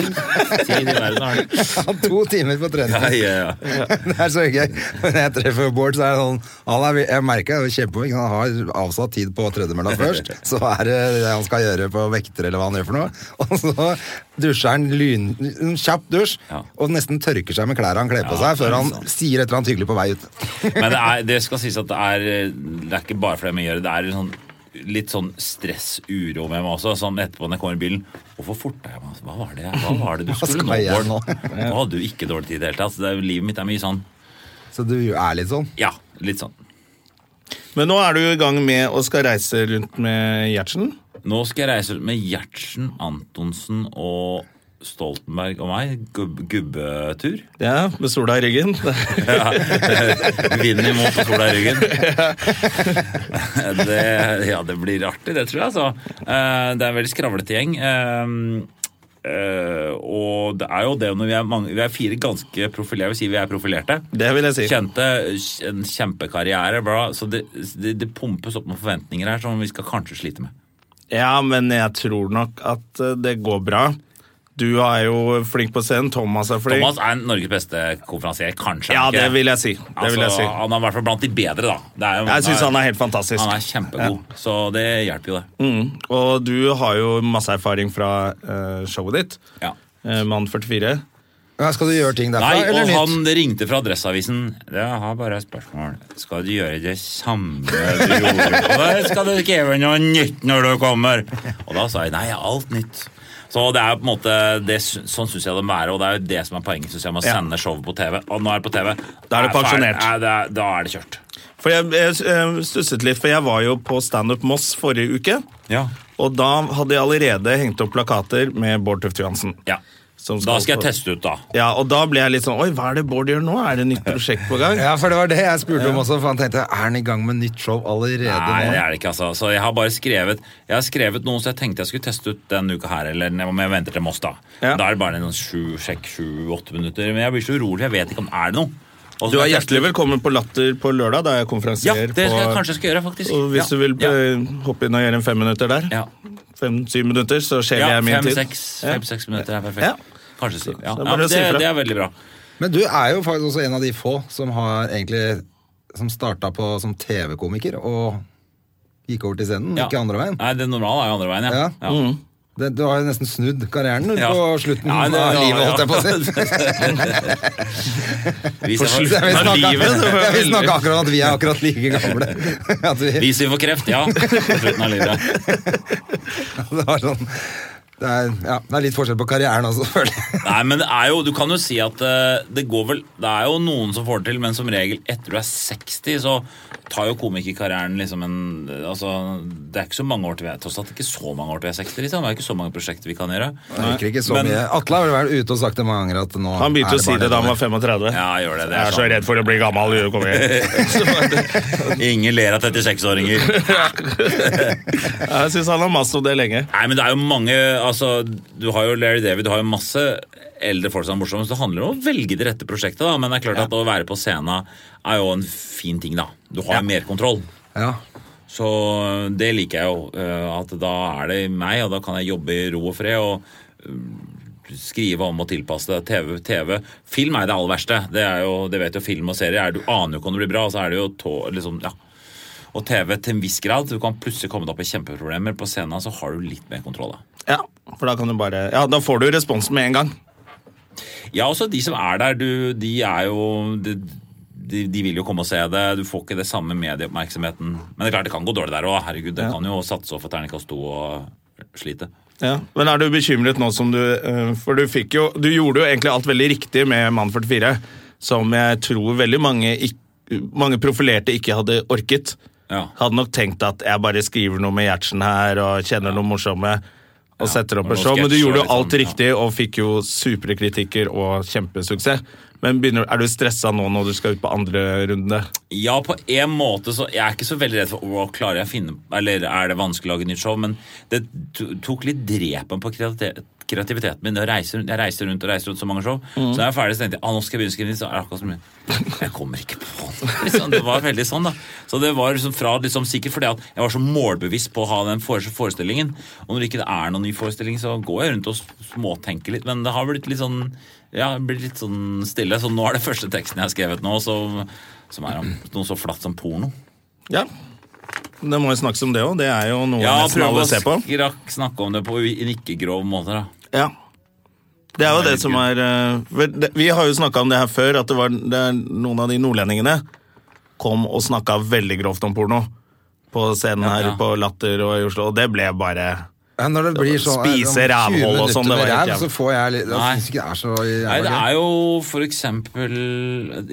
S3: tid i verden. har han.
S2: Ja, to timer på trening.
S3: Ja, ja, ja.
S2: Det er så gøy. Når jeg treffer Bård, så er det sånn han er, Jeg merker det er kjempeflink. Han har avsatt tid på tredemølla først. Så er det det han skal gjøre på vekter, eller hva han gjør for noe. Og så dusjer han lyn, en kjapp dusj,
S3: Ja.
S2: og nesten tørker seg med klærne han kler på
S3: Ja,
S2: seg, før han
S3: det er sant.
S2: sier et eller annet hyggelig på vei ut.
S3: Men det, er, det skal sies at det er, det er ikke bare for det med å gjøre. Det er en sånn, litt sånn stress-uro med meg også. Sånn etterpå når jeg kommer i bilen Hvorfor forta jeg meg? Hva var det, hva var det du
S2: Hva
S3: skulle
S2: skal
S3: nå,
S2: jeg
S3: Bård?
S2: nå?
S3: Nå hadde du ikke dårlig tid i det hele tatt. så det er- Livet mitt er mye sånn
S2: Så du er litt sånn.
S3: Ja, litt sånn.
S1: Men nå er du i gang med å skal reise rundt med Gjertsen.
S3: Nå skal jeg reise ut med Gjertsen, Antonsen og Stoltenberg og meg. Gubb, gubbetur.
S1: Ja, med sola i ryggen.
S3: Vinden imot og sola i ryggen. Det, ja, det blir artig, det tror jeg. Altså. Eh, Det er en veldig skravlete gjeng. Eh, eh, Og det er jo det når vi er, mange, vi er fire ganske profilerte. Jeg vil si vi er profilerte.
S1: Det vil jeg si.
S3: Kjente en kjempekarriere. Bla. Så det, det, det pumpes opp med forventninger her som vi skal kanskje slite med.
S1: Ja, men jeg tror nok at eh, det går bra. Du er jo flink på scenen. Thomas er flink.
S3: Thomas er Norges beste konferansier, kanskje.
S1: ja,
S3: ikke?
S1: det vil jeg si. Det
S3: Altså,
S1: vil jeg si.
S3: Han er i hvert fall blant de bedre, da. Det er jo-
S1: Jeg syns han er helt fantastisk.
S3: han er kjempegod, så det hjelper jo, det.
S1: Mm. Og du har jo masse erfaring fra eh, showet ditt,
S3: Ja.
S1: eh, Mann 44.
S2: Ja, skal du gjøre ting derfra,
S3: Nei, og
S2: eller nytt?
S3: han ringte fra Adresseavisen. Jeg har bare et spørsmål. Skal du gjøre det samme du gjorde? Eller skal du skrive noe nytt når du kommer? Og da sa jeg nei, alt nytt. Så det er jo på en måte, det, sy- Sånn syns jeg det må være, og det er jo det som er poenget. Synes jeg med å
S1: Ja.
S3: sende showet på TV. Og nå er det på TV.
S1: Da er det
S3: ferdig.
S1: pensjonert.
S3: Nei, det er- Da er det kjørt.
S1: For jeg, jeg eh, stusset litt, for jeg var jo på Standup Moss forrige uke.
S3: Ja.
S1: Og da hadde jeg allerede hengt opp plakater med Bård Tufte Johansen.
S3: ja.
S1: som
S3: Da skal jeg
S1: på-
S3: teste ut, da.
S1: Ja, og da ble jeg litt sånn Oi, hva er det Bård gjør nå? Er det nytt prosjekt på gang?
S2: Ja, for det var det jeg spurte om også, for han tenkte er han i gang med nytt show allerede
S3: Nei, det
S2: nå?
S3: er det ikke, altså. Så jeg har bare skrevet Jeg har skrevet noe som jeg tenkte jeg skulle teste ut denne uka her, eller om jeg venter til Moss, da.
S1: Ja.
S3: Da er det bare noen sju, sjekk, sju-åtte minutter. Men jeg blir så urolig, jeg vet ikke om det er noe. Og så
S1: Du er
S3: skal jeg teste
S1: hjertelig
S3: ut-
S1: velkommen på Latter på lørdag, da jeg
S3: Ja,
S1: konferansier
S3: det skal jeg
S1: på
S3: kanskje skal gjøre, faktisk.
S1: Og hvis
S3: ja.
S1: du vil
S3: ja.
S1: eh, hoppe inn og gjøre en fem minutter der,
S3: Ja.
S1: fem-syv minutter, så skjeler
S3: Ja,
S1: jeg min tid.
S3: fem-seks
S1: Ja.
S3: fem, seks minutter er perfekt.
S1: Ja.
S3: Kanskje syv.
S1: så
S3: Ja. Ja,
S1: bare
S3: men
S1: å si
S3: det,
S1: fra.
S3: det er veldig bra.
S2: Men du er jo faktisk også en av de få som har egentlig Som starta på som TV-komiker og gikk over til scenen,
S3: Ja.
S2: ikke andre veien.
S3: Nei, det normale er jo andre veien, ja.
S2: Ja. Det, du har jo nesten snudd karrieren du, på slutten av livet, holdt jeg på å si.
S3: Hvis
S1: For
S3: jeg
S1: slutten
S3: får-
S1: av
S2: Vi
S1: Men livet,
S2: snakka-
S1: det var
S2: Ja, vi
S1: veldig-
S2: snakka akkurat om at vi er akkurat like gamle. At vi,
S3: Hvis vi får kreft, ja. På slutten av livet.
S2: det, var sånn, det, er, ja, det er litt forskjell på karrieren også, føler jeg.
S3: Nei, men det er jo, du kan jo si at eh, det går vel Det er jo noen som får det til, men som regel etter du er 60, så tar jo komikerkarrieren liksom en Altså, det er ikke så mange år til vi er Tross alt ikke så mange år til vi er 60, liksom. Det er ikke så mange prosjekter vi kan gjøre.
S2: Jeg liker ikke så
S3: Men-
S2: mye. Atle har vel vært ute og sagt det mange ganger at nå
S1: Han begynte
S2: er
S1: å si
S2: bare
S1: det da han
S2: nedover.
S1: var 35.
S3: Ja, gjør det. Det
S1: Jeg
S3: er sånn.
S1: er så
S3: sant.
S1: redd for å bli gammel. du kommer hjem.
S3: Ingen ler av 36-åringer.
S1: Jeg syns han har mast om det lenge.
S3: Nei, men det er jo mange Altså, du har jo Larry David, du har jo masse eldre folk som er morsomme, så det handler om å velge det rette prosjektet, da. Men det er klart at å være på scenen er jo en fin ting, da. Du har mer kontroll.
S2: Ja.
S3: Så det liker jeg jo. eh, At da er det meg, og da kan jeg jobbe i ro og fred. og eh, Skrive om og tilpasse det. TV, TV. Film er det aller verste. Det, er jo, det vet jo film og serier. Er, du aner jo ikke om det blir bra. Og så er det jo tå, liksom, ja. Og TV til en viss grad. Du kan plutselig komme deg opp i kjempeproblemer. På scenen så har du litt mer kontroll. da.
S1: Ja, for da kan du bare Ja, da får du respons med en gang.
S3: Ja, også de som er der, du, de er jo de, de, de vil jo komme og se det. Du får ikke det samme medieoppmerksomheten. Men det er klart det kan gå dårlig der òg. Herregud, det kan jo satse opp for terningkast to og slite.
S1: Ja. Men er du bekymret nå som du eh, For du fikk jo Du gjorde jo egentlig alt veldig riktig med Mann 44, som jeg tror veldig mange, ikk- mange profilerte ikke hadde orket.
S3: Ja.
S1: Hadde nok tenkt at jeg bare skriver noe med Gjertsen her og kjenner noe morsomme. Og setter opp
S3: og
S1: en show, Men du
S3: sketsjer,
S1: gjorde jo alt
S3: liksom, ja.
S1: riktig og fikk jo supre kritikker og kjempesuksess. Men begynner, er du stressa nå når du skal ut på andre runde?
S3: Ja, på en måte så Jeg er ikke så veldig redd for å, klarer jeg å finne Eller er det vanskelig å lage nytt show? Men det to- tok litt drepen på kreati- kreativiteten min. Jeg reiser, rundt- jeg reiser rundt og reiser rundt så mange show. Så når jeg er ferdig, så tenkte jeg ah, nå skal jeg begynne å skrive nytt. Så er det akkurat som jeg- Jeg kommer ikke på noe. Liksom. Det var veldig sånn, da. Så det var liksom fra liksom, Sikkert fordi at jeg var så målbevisst på å ha den fore- forestillingen. Og når det ikke er noen ny forestilling, så går jeg rundt og s- småtenker litt. Men det har blitt litt sånn ja, det blir litt sånn stille. Så nå er det første teksten jeg har skrevet nå, så, som er om noe så flatt som porno.
S1: Ja. Det må jo snakkes om det òg. Det er jo noe nesten
S3: prøv
S1: alle
S3: å
S1: ser på.
S3: skrak- snakke om det på en ikke-grov måte, da.
S1: Ja. Det er jo det
S3: Herregud.
S1: som er eh, vel, det- Vi har jo snakka om det her før, at det var det er noen av de nordlendingene kom og snakka veldig grovt om porno på scenen her
S3: ja.
S1: på Latter og i Oslo, og det ble bare
S2: Ja, når det blir sånn
S1: Spise
S2: om 20
S1: rævhold og sånn, det
S2: minutter med
S1: var helt
S2: ræv,
S1: jævlig.
S2: Så får jeg litt Jeg
S3: Nei.
S2: syns ikke det er så
S3: Nei,
S2: jævlig.
S3: det er jo for eksempel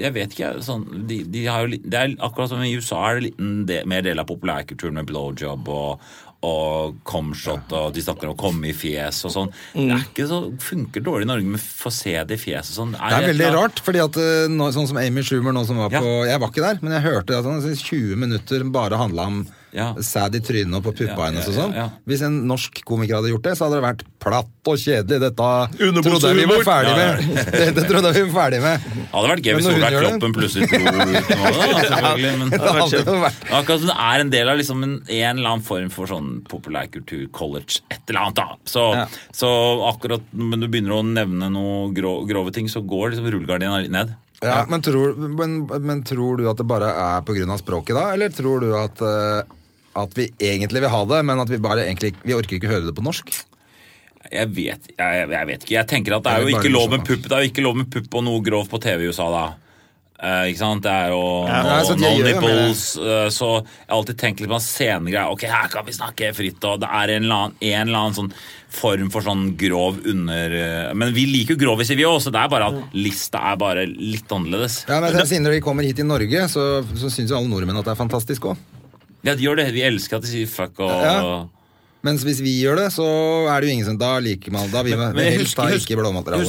S3: Jeg vet ikke, sånn de, de har jo, litt- Det er akkurat som i USA er det liten del, mer del av populærkulturen med blowjob og, og comshot, og de snakker om å komme i fjes og sånn.
S2: Mm.
S3: Det er ikke så, funker dårlig i Norge med få se det i fjeset og sånn.
S2: Det er
S3: et
S2: veldig
S3: eller annet-
S2: rart, fordi at eh, nå, sånn som Amy Schumer nå som var
S3: Ja.
S2: på Jeg var ikke der, men jeg hørte at han syntes 20 minutter bare handla om
S3: Ja.
S2: sæd i trynet og på puppa
S3: Ja,
S2: hennes og
S3: ja,
S2: sånn.
S3: ja, ja.
S2: Hvis en norsk komiker hadde gjort det, så hadde det vært platt og kjedelig. Dette
S1: Underbukshumor!
S2: trodde jeg vi var ferdig
S3: Ja,
S2: med. Dette trodde jeg vi var ferdig med.
S3: Ja, det hadde vært gøy
S2: Men
S3: hvis
S2: når hun
S3: Solveig
S2: gjør det-
S3: Kloppen plutselig dro ut nå, da, selvfølgelig. Men
S2: Det hadde jo vært
S3: Det er Akkurat som det er en del av liksom en, en eller annen form for sånn populærkultur, college, et eller annet. da. Så, så akkurat når du begynner å nevne noen grå, grove ting, så går liksom rullegardina ned.
S2: Ja, men, tror, men, men tror du at det bare er pga. språket da, eller tror du at, eh, at vi egentlig vil ha det, men at vi bare egentlig vi orker ikke høre det på norsk?
S3: Jeg vet, jeg, jeg vet ikke. Jeg tenker at det
S2: Jeg
S3: er jo
S2: vil bare sånn.
S3: ikke lov med
S2: skjønne.
S3: pupp Det er jo ikke lov med pupp og noe grovt på TV i USA da. Eh, ikke sant? Det er jo no,
S2: nei, så de
S3: no
S2: gjør jo med det.
S3: nipples. eh, så jeg har alltid tenkt litt på scenegreier. Ok, her kan vi snakke fritt, og det er en eller annen, en eller annen sånn form for sånn grov under eh, Men vi liker jo grovis i vi òg, så det er bare at lista er bare litt annerledes.
S2: Ja, men jeg tenker, Siden dere kommer hit til Norge, så, så syns jo alle nordmenn at det er fantastisk òg.
S3: Ja, de gjør det. Vi elsker at de sier fuck og
S2: Ja. Mens hvis vi gjør det, så er det jo ingen som Da liker man Da vil man
S3: Men jeg
S2: helst
S3: husker,
S2: da
S3: husker,
S2: ikke
S3: jeg husker jeg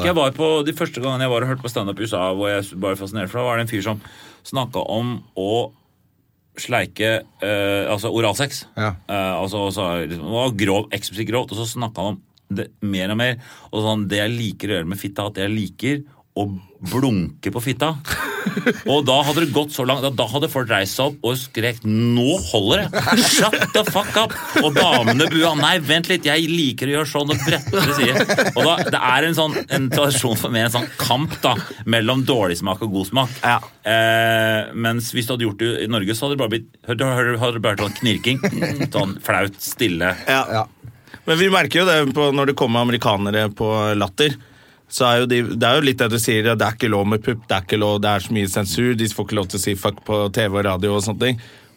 S2: blåmateriale.
S3: var på De første gangene jeg var og hørte på standup i USA, hvor jeg var fascinert, for da var det en fyr som snakka om å sleike eh, Altså oralsex.
S2: Ja.
S3: Eh, altså, så, liksom, det var grov, eksplisitt grovt, og så snakka han om det mer og mer. Og sånn, det jeg liker å gjøre med fitta, at jeg liker å blunke på fitta. Og da hadde det gått så langt at da hadde folk reist seg opp og skrekt 'Nå holder det!' Shut the fuck up! Og damene bua 'Nei, vent litt, jeg liker å gjøre sånn' og bretter sider. Og da, det er en sånn en tradisjon for meg, en sånn kamp da, mellom dårlig smak og god smak.
S1: Ja.
S3: Eh, mens hvis du hadde gjort det i Norge, så hadde det bare blitt hadde, hadde, hadde det bare vært sånn knirking. Sånn flaut, stille.
S1: Ja.
S2: Ja.
S1: Men vi merker jo det på, når det kommer amerikanere på latter. Så er jo de, det er jo litt det du sier, det er ikke lov med pupp, det er ikke lov, det er så mye sensur, de får ikke lov til å si fuck på TV og radio og sånne ting.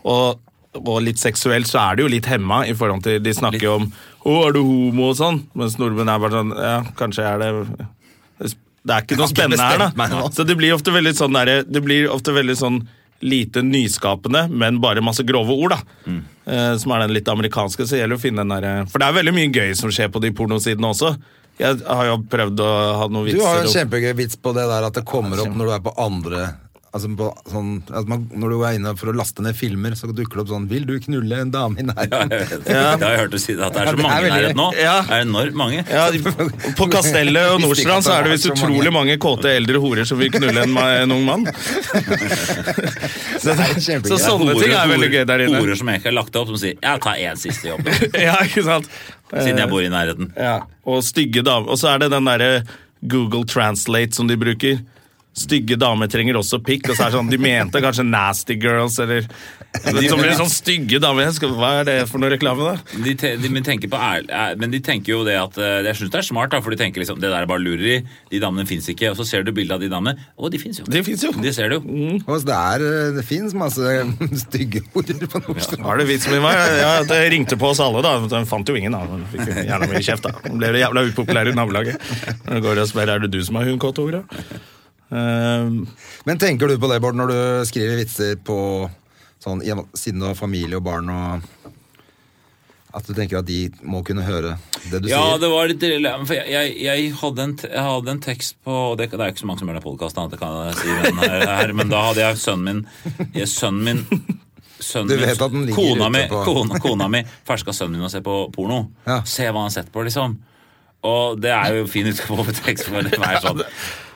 S1: Og, og litt seksuelt så er det jo litt hemma i forhold til De snakker jo om 'Å, er du homo?' og sånn, mens nordmenn er bare sånn Ja, kanskje er det Det er ikke noe
S2: Jeg har ikke
S1: spennende her,
S2: bestemt meg
S1: da.
S2: nå.
S1: Så det blir ofte veldig sånn derre- Det blir ofte veldig sånn lite nyskapende, men bare masse grove ord, da.
S2: Mm.
S1: Eh, som er den litt amerikanske, så gjelder det å finne den derre For det er veldig mye gøy som skjer på de pornosidene også. Jeg har jo prøvd å ha noen
S2: Du
S1: vitser.
S2: har jo en
S1: opp.
S2: kjempegøy vits på det der at det kommer opp når du er på andre Altså på, sånn, at man, Når du er inne for å laste ned filmer, så dukker det opp sånn 'Vil du knulle en dame i
S3: Ja,
S2: nærheten?'
S3: jeg vet det. Det har jeg hørt du si, at det er
S2: Ja,
S3: så
S2: det er
S3: mange
S2: veldig-
S3: der nå.
S1: Ja.
S3: Det er enormt mange.
S1: ja, på Kastellet og Nordstrand så er det visst
S2: Visste ikke at det var så mange.
S1: utrolig mange kåte eldre horer som vil knulle en, ma- en ung mann.
S2: Det er kjempegøy.
S1: Så sånne ting er veldig gøy der inne.
S3: Horer som jeg ikke har lagt opp, som sier 'jeg tar én siste jobb',
S1: Ja, ikke sant?
S3: siden
S2: Eh.
S3: jeg bor i nærheten.
S1: Ja, og stygge damer. Og så er det den derre Google Translate som de bruker. Stygge damer trenger også pikk. Og så er det sånn, De mente kanskje Nasty Girls eller men så blir det sånn stygge damer. Jeg skal- Hva er det for noe reklame, da?
S3: De, te, de, men, tenker på ærl, æ- men de tenker jo det at eh, Jeg syns det er smart, da, for de tenker liksom det der er bare lureri. De damene fins ikke. Og så ser du bildet av de damene. Å, de fins jo.
S1: De finnes jo.
S3: De ser du jo.
S2: Og så Det, er, eh, det fins masse stygge horer på norsk.
S1: Har du vits med meg? Ja, det ringte på oss alle, da. Den fant jo ingen, da. Den Fikk jo jævla mye kjeft, da. Den Ble det jævla upopulær i nabolaget. Når det går og spør, Er det du som har hundkåt, Ora? Ehm,
S2: Men tenker du på det, Bård, når du skriver vitser på sånn, i- siden du har familie og barn og At du tenker at de må kunne høre det du
S3: Ja,
S2: sier?
S3: det var litt dilemma, for jeg, jeg, jeg, hadde en, t- jeg hadde en tekst på og det, det er jo ikke så mange som gjør den podkasten, det kan jeg si, men, her, her, men da hadde jeg sønnen min jeg, Sønnen min sønnen
S2: Du
S3: min-
S2: vet at den ligger
S3: kona
S2: ute
S3: mi,
S2: på-
S3: kona, kona mi ferska sønnen min og ser på porno.
S2: Ja.
S3: Se hva han har sett på, liksom. Og det er jo fin utgave på tekst. For det er sånn.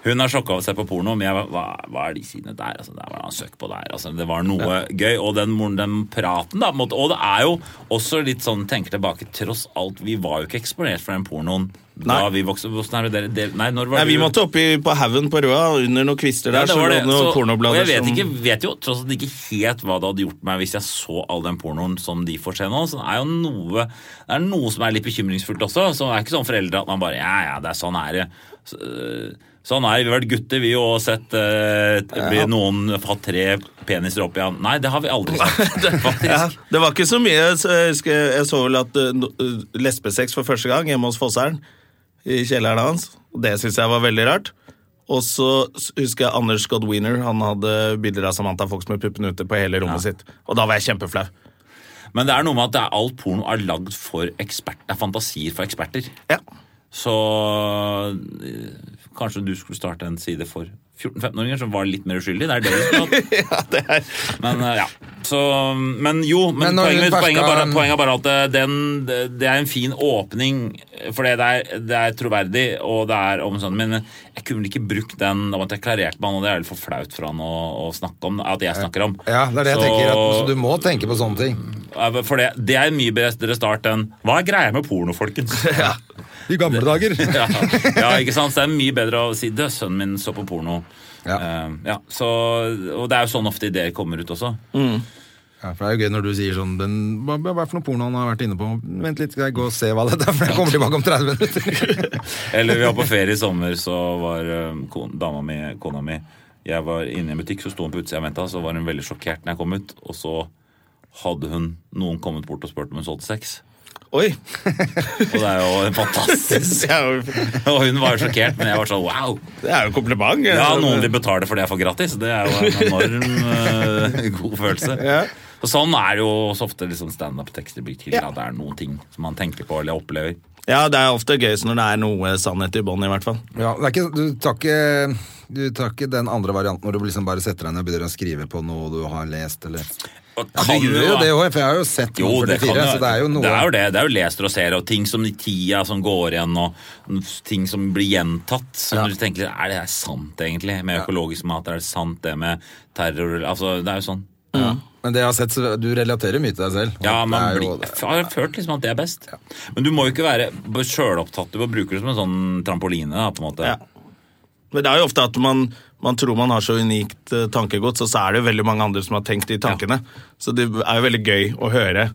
S3: Hun er sjokka over å se på porno, men jeg, var- hva, hva er de sidene der? Altså, der var han søkt på der. Altså, det var noe gøy. Og den, mor- den praten, da. på en måte. Og det er jo også litt sånn tenker tilbake, tross alt, vi var jo ikke eksponert for den pornoen da
S1: Nei.
S3: vi vokste opp. Hvordan er det dere del- Nei, når var
S1: Nei, Vi
S3: du-
S1: måtte opp i, på haugen på Røa, under noen kvister der.
S3: Ja, det
S1: så
S3: var
S1: lå
S3: det.
S1: det noen
S3: Så- og
S1: pornoblader
S3: jeg vet,
S1: som-
S3: ikke, vet jo tross alt ikke helt hva det hadde gjort meg hvis jeg så all den pornoen som de får se nå. Så det er jo noe, det er noe som er litt bekymringsfullt også. Så det er ikke sånn foreldre at man bare Ja, ja, det er sånn er det. Så, øh, Sånn er det. Vi har vært gutter, vi, og sett øh, blir noen hatt tre peniser opp i han. Nei, det har vi aldri sett,
S1: Ja,
S3: faktisk.
S1: det var ikke så mye. så Jeg, husker, jeg så vel at eh, no- eh, lesbesex for første gang hjemme hos Fosseren. I kjelleren hans. Og Det syns jeg var veldig rart. Og så s- husker jeg Anders Godwiner. Han hadde bilder av Samantha Fox med puppene ute på hele rommet sitt. Og da var jeg kjempeflau.
S3: Men det er noe med at det er alt porno er lagd for ekspert, det er fantasier for eksperter.
S1: Ja.
S3: Så øh, kanskje du skulle starte en side for 14-15-åringer som var litt mer uskyldig. Det er det du skulle hatt. Men øh, ja. Så, men jo, men,
S2: Men når
S3: poenget,
S2: hun
S3: mitt- poenget, er bare,
S2: barska-
S3: poenget er bare at øh, den, det det er en fin åpning, for det er, det er troverdig, og det er om sånn, men jeg kunne vel ikke brukt den da man deklarerte med han, og det er litt for flaut for han å, å snakke om, at jeg snakker om.
S2: Ja, det er det jeg
S3: Så-
S2: tenker. At, så du må tenke på sånne ting.
S3: ja, For det, det er en mye bedre start enn Hva er greia med porno, folkens? ja.
S2: I gamle dager.
S3: ja, ikke sant? Så det er mye bedre å si det. Sønnen min så på porno.
S2: Ja.
S3: Eh, ja, så, og det er jo sånn ofte ideer kommer ut også.
S2: Ja, for Det er jo gøy når du sier sånn den, hva, hva hva er det for noe porno han har vært inne på? Vent litt, skal jeg gå og se hva det er, for jeg kommer tilbake om 30 minutter.
S3: Eller vi var på ferie i sommer, så var eh, kon, dama mi, kona mi Jeg var inne i en butikk, så sto hun på utsida og venta. Så var hun veldig sjokkert når jeg kom ut. Og så hadde hun noen kommet bort og spurt om hun solgte sex.
S1: Oi!
S3: Og det er jo fantastisk.
S1: Det er jo,
S3: Og hun var jo sjokkert, men jeg var sånn wow.
S1: det er jo kompliment.
S3: Ja, noen vil betale for det jeg får gratis. Det er jo en enorm eh, god følelse.
S1: Ja.
S3: Og sånn er det jo så ofte liksom standup-tekster blir til. at Det er noen ting som man tenker på eller opplever.
S1: ja, det er ofte gøyest når det er noe sannhet i bånn, i hvert fall.
S2: Ja, det er ikke, du, tar ikke, du tar ikke den andre varianten hvor du liksom bare setter deg ned og begynner å skrive på noe du har lest, eller
S3: Og
S2: ja, Du gjør jo det òg, for jeg har jo sett
S3: Jo, det, kan,
S2: 44, så det er jo noe
S3: det er jo det. Det er jo leser og ser, og ting som i tida som går igjen, og ting som blir gjentatt. Som du tenker Er det her sant, egentlig? Med økologisk mat, er det sant det med terror? Altså, det er jo sånn.
S2: Men det jeg har sett, så du relaterer mye til deg selv.
S3: Ja,
S2: Det
S3: man
S2: er
S3: blir,
S2: jo-
S3: jeg har følt liksom at det er best. Men du må jo ikke være sjølopptatt. Du må bruke det som en sånn trampoline. da, på en måte.
S1: Ja. Men det er jo ofte at man, man tror man har så unikt eh, tankegods, og så er det jo veldig mange andre som har tenkt de tankene. Så det er jo veldig gøy å høre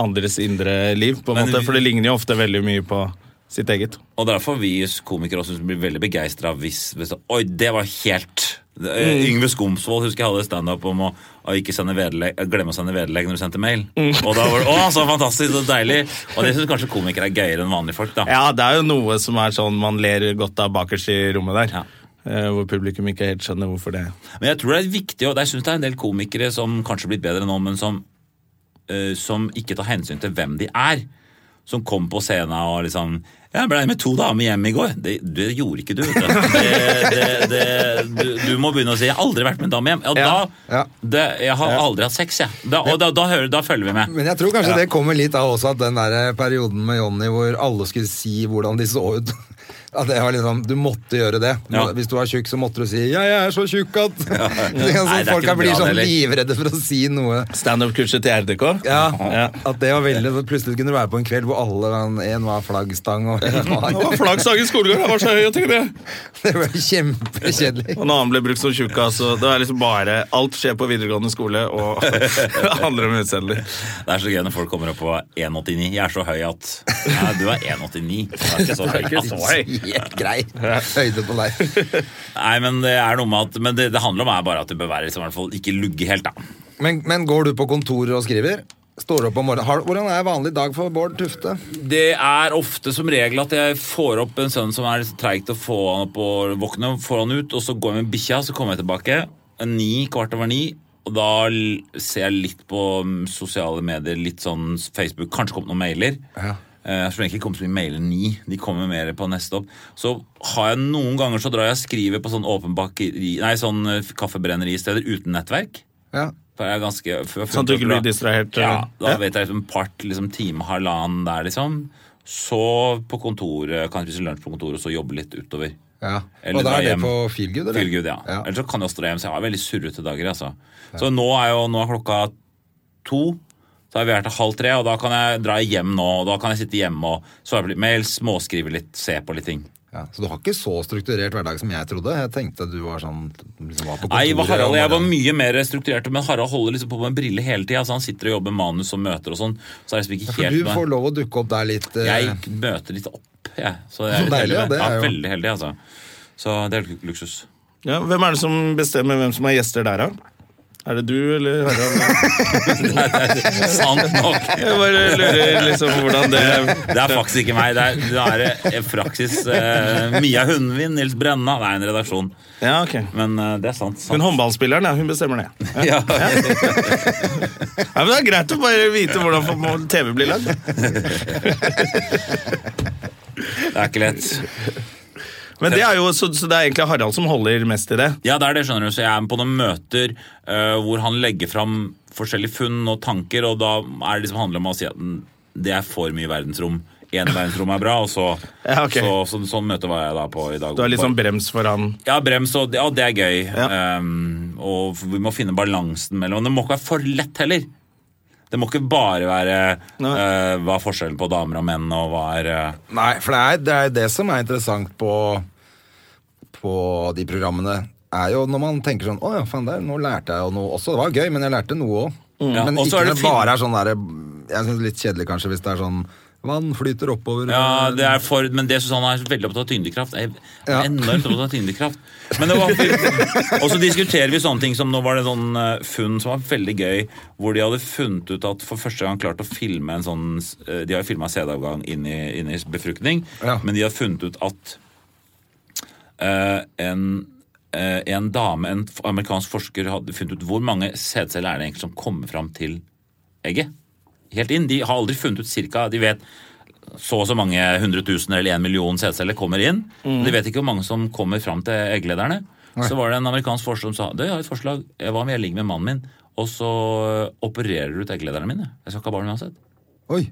S1: andres indre liv, på en
S3: Men
S1: måte,
S3: vi-
S1: for det ligner jo ofte veldig mye på sitt eget.
S3: Og derfor vi komikere også blir veldig begeistra hvis, hvis Oi, det var helt det- eh, Yngve Skomsvold husker jeg hadde standup om å, å ikke sende vedlegg, eh, glemme å sende vedlegg når du sendte mail. Og da var det, Å, så fantastisk og deilig! Og det syns kanskje komikere er gøyere enn vanlige folk. da.
S1: Ja, det er jo noe som er sånn man ler godt av bakerst i rommet der.
S3: Ja.
S1: eh, Hvor publikum ikke helt skjønner hvorfor det
S3: Men jeg tror det er viktig, og jeg syns det er en del komikere som kanskje har blitt bedre nå, men som, eh, som ikke tar hensyn til hvem de er. Som kom på scenen og liksom Jeg ble med to damer hjem i går. Det, det gjorde ikke du. vet du. Det, det, det, du. Du må begynne å si 'jeg har aldri vært med en dame hjem'. Og
S1: Ja,
S3: da, det, jeg har aldri hatt sex, jeg. Da, og da, da, hører, da følger vi med.
S2: Men jeg tror kanskje det kommer litt av også at den der perioden med Jonny hvor alle skulle si hvordan de så ut At det var liksom, du måtte gjøre det. Du må-
S3: Ja.
S2: Hvis du var tjukk, så måtte du si 'ja, jeg er så tjukk at'
S3: Nei, det er
S2: så
S3: ikke
S2: Folk
S3: noe
S2: blir
S3: bra,
S2: sånn
S3: det heller.
S2: livredde for å si noe.
S1: Standup-kurset til RDK?
S2: Ja,
S1: Ja.
S2: At det var veldig Plutselig kunne du være på en kveld hvor alle var- en var flaggstang og en
S1: Det var
S2: var
S1: flaggsangen skolegård, han var så høy og tykk, det.
S2: Det var kjempekjedelig.
S1: Og en annen ble brukt som tjukkas, og det er liksom bare Alt skjer på videregående skole, og handler om utseendet.
S3: Det er så gøy når folk kommer opp på 1,89. Jeg er så høy at Nei, du er 1,89. Du er ikke så høy. Altså, høy.
S2: Helt grei høyde på deg.
S3: Nei, men det er noe med at Men det, det handler om er bare at du bør være liksom, i hvert fall ikke lugge helt, da.
S2: Men, men går du på kontoret og skriver? Står du opp om morgenen? Har, hvordan er vanlig dag for Bård Tufte?
S3: Det er ofte som regel at jeg får opp en sønn som er treig til å få han opp og våkne, får han ut, og så går jeg med bikkja, så kommer jeg tilbake. Ni, kvart over ni. Og da l- ser jeg litt på mm, sosiale medier, litt sånn Facebook. Kanskje kom det noen mailer.
S2: Ja.
S3: Eh, Jeg tror egentlig ikke kom så mye mailer ni. De kommer mer på neste opp. Så har jeg noen ganger så drar jeg og skriver på sånn åpen bakeri, nei, sånn eh, kaffebrenneri-steder uten nettverk.
S2: Ja.
S3: For jeg er ganske, for jeg
S1: Sånn at du ikke
S3: føler-
S1: blir distrahert,
S3: Ja,
S1: eller?
S3: da
S1: Ja.
S3: vet jeg liksom part, liksom time, halvannen der, liksom. Så på kontoret, kan jeg spise lunsj på kontoret og så jobbe litt utover.
S2: ja.
S3: Eller
S2: Og da
S3: dra
S2: er det
S3: hjem.
S2: på Feelgood? eller?
S3: Feelgood, ja.
S2: Ja.
S3: Eller så kan jeg også dra hjem, så jeg har veldig surrete dager, altså. Så nå er jo nå er klokka to. Så er vi her til halv tre, og da kan jeg dra hjem nå. Og da kan jeg sitte hjemme og svare på litt mail, småskrive litt, se på litt ting.
S2: Ja, Så du har ikke så strukturert hverdag som jeg trodde? Jeg tenkte du var sånn liksom var på kontoret.
S3: Nei, hva Harald og jeg var
S2: om morgenen.
S3: mye mer strukturerte, men Harald holder liksom på med briller hele tida. Så han sitter og jobber med manus og møter og sånn. Så er det liksom ikke
S2: For
S3: helt
S2: du
S3: med.
S2: får lov å dukke opp der litt. eh,
S3: Jeg møter litt opp, jeg. Så
S2: Så
S3: jeg er
S2: deilig,
S3: litt heldig
S2: ja,
S3: med det.
S2: det er
S3: Ja,
S2: jo-
S3: veldig heldig, altså. Så det er luk- luksus.
S1: Ja, hvem er det som bestemmer hvem som er gjester der, da? Er det du, eller Harald?
S3: Nei, det er sant nok. Eh,
S1: Jeg bare lurer liksom hvordan det
S3: Det er faktisk ikke meg. Det er, det er eh, praksis eh, Mia Hundvin, Nils Brenna. Det er en redaksjon.
S1: Ja, ok.
S3: Men eh, det er sant. sant.
S1: Men håndballspilleren, ja, hun bestemmer det.
S3: ja.
S1: Ja, men Det er greit å bare vite hvordan TV blir lagd.
S3: Det er ikke lett.
S1: Men det er jo, så, så det er egentlig Harald som holder mest i det.
S3: Ja, det er det, skjønner du. Så jeg er med på noen møter eh, hvor han legger fram forskjellige funn og tanker, og da er det liksom handler om å si at mm, det er for mye verdensrom. Én verdensrom er bra, og så,
S1: Ja, ok.
S3: så, så Sånn møte var jeg da på i dag.
S1: Du er litt sånn brems for han.
S3: Ja, brems, og det, ja, det er gøy.
S1: Ja.
S3: Ehm, og vi må finne balansen mellom Det må ikke være for lett heller. Det må ikke bare være
S1: Nei.
S3: eh, hva er forskjellen på damer og menn, og hva er eh,
S2: Nei, for det er, det er det som er interessant på, på de programmene. Er jo når man tenker sånn Å ja, faen, der, nå lærte jeg jo noe også. Det var gøy, men jeg lærte noe òg.
S3: Mm. Ja,
S2: Men
S3: og så
S2: ikke
S3: er
S2: når
S3: det
S2: det
S3: fin-
S2: bare er sånn derre Jeg syns det er litt kjedelig kanskje hvis det er sånn Vann flyter oppover.
S3: Ja, det er for Men det Susanne er veldig opptatt av tyngdekraft. Jeg er
S2: Ja.
S3: enormt opptatt av tyngdekraft. Men det var Og så diskuterer vi sånne ting som Nå var det sånn eh, funn som var veldig gøy, hvor de hadde funnet ut at for første gang klart å filme en sånn eh, De har jo filma sædavgang inn i, inn i befruktning,
S2: Ja.
S3: men de har funnet ut at eh, en eh, en dame, en f- amerikansk forsker, hadde funnet ut hvor mange sædceller er det egentlig som kommer fram til egget. Helt inn. De har aldri funnet ut cirka De vet så og så mange hundre tusen eller en million sædceller kommer inn.
S1: Mm.
S3: De lederne vet ikke hvor mange som kommer fram til egglederne. Så var det en amerikansk forsker som sa «Du, jeg har et forslag. Hva om jeg ligger med mannen min, og så øh, opererer du ut egglederne mine? Jeg skal ikke ha barn uansett.
S2: Oi.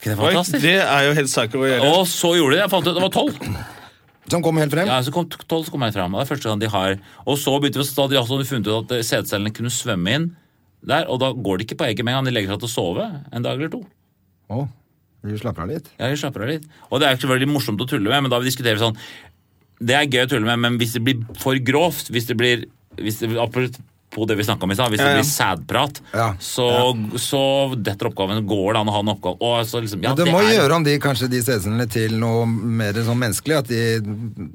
S3: Ikke det
S1: Oi,
S3: fantastisk?
S1: det er jo helt psycho å gjøre.
S3: Og så gjorde de det. Jeg fant ut at det var tolv.
S2: Som kom sånn helt frem.
S3: Ja, så kom tolv så kom jeg fram. og Det er første gang de har Og så begynte vi å stadig også hadde funnet ut at eh, sædcellene kunne svømme inn der, og da går de ikke på egget med en gang. De legger seg til å sove en dag eller to.
S2: Å, vi slapper av litt.
S3: Ja, vi slapper av litt. Og det er ikke så veldig morsomt å tulle med, men da vi diskuterer sånn Det er gøy å tulle med, men hvis det blir for grovt, hvis det blir hvis det, Apropos det vi snakka om i stad, hvis det
S1: Ja, ja.
S3: blir sædprat,
S2: Ja.
S3: så, så detter oppgaven. Går det an å ha en oppgave? Og så liksom, ja,
S2: Men du må
S3: er,
S2: gjøre om de kanskje de sædcellene til noe mer sånn menneskelig. At de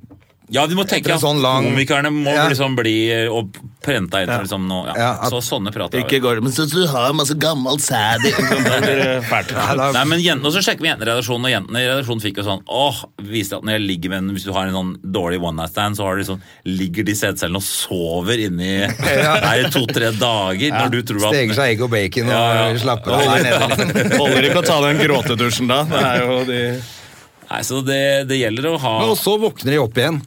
S3: Ja, vi må tenke
S2: en
S3: at
S2: sånn lang-
S3: komikerne må
S2: Ja.
S3: liksom bli eh, og prenta inn liksom, nå, ja.
S2: Ja, at-
S3: Så sånne prater
S1: Ikke går Men så du har masse gammel sæd i Det blir fælt.
S2: Nei, da-
S3: Nei, men jentene, og så sjekker vi jentene i redaksjonen, og jentene i redaksjonen fikk jo sånn Åh, viser det at når jeg ligger med en Hvis du har en sånn dårlig one night stand, så har du sånn, ligger de sædcellene og sover inni der i to-tre dager når du tror at
S2: steker seg egg og bacon og
S3: Ja, ja.
S2: slapper av der nede. liksom.
S1: Holder ikke å ta den gråtedusjen da. Det er jo de
S3: Nei, så det, det gjelder å ha
S2: Og så våkner de opp igjen.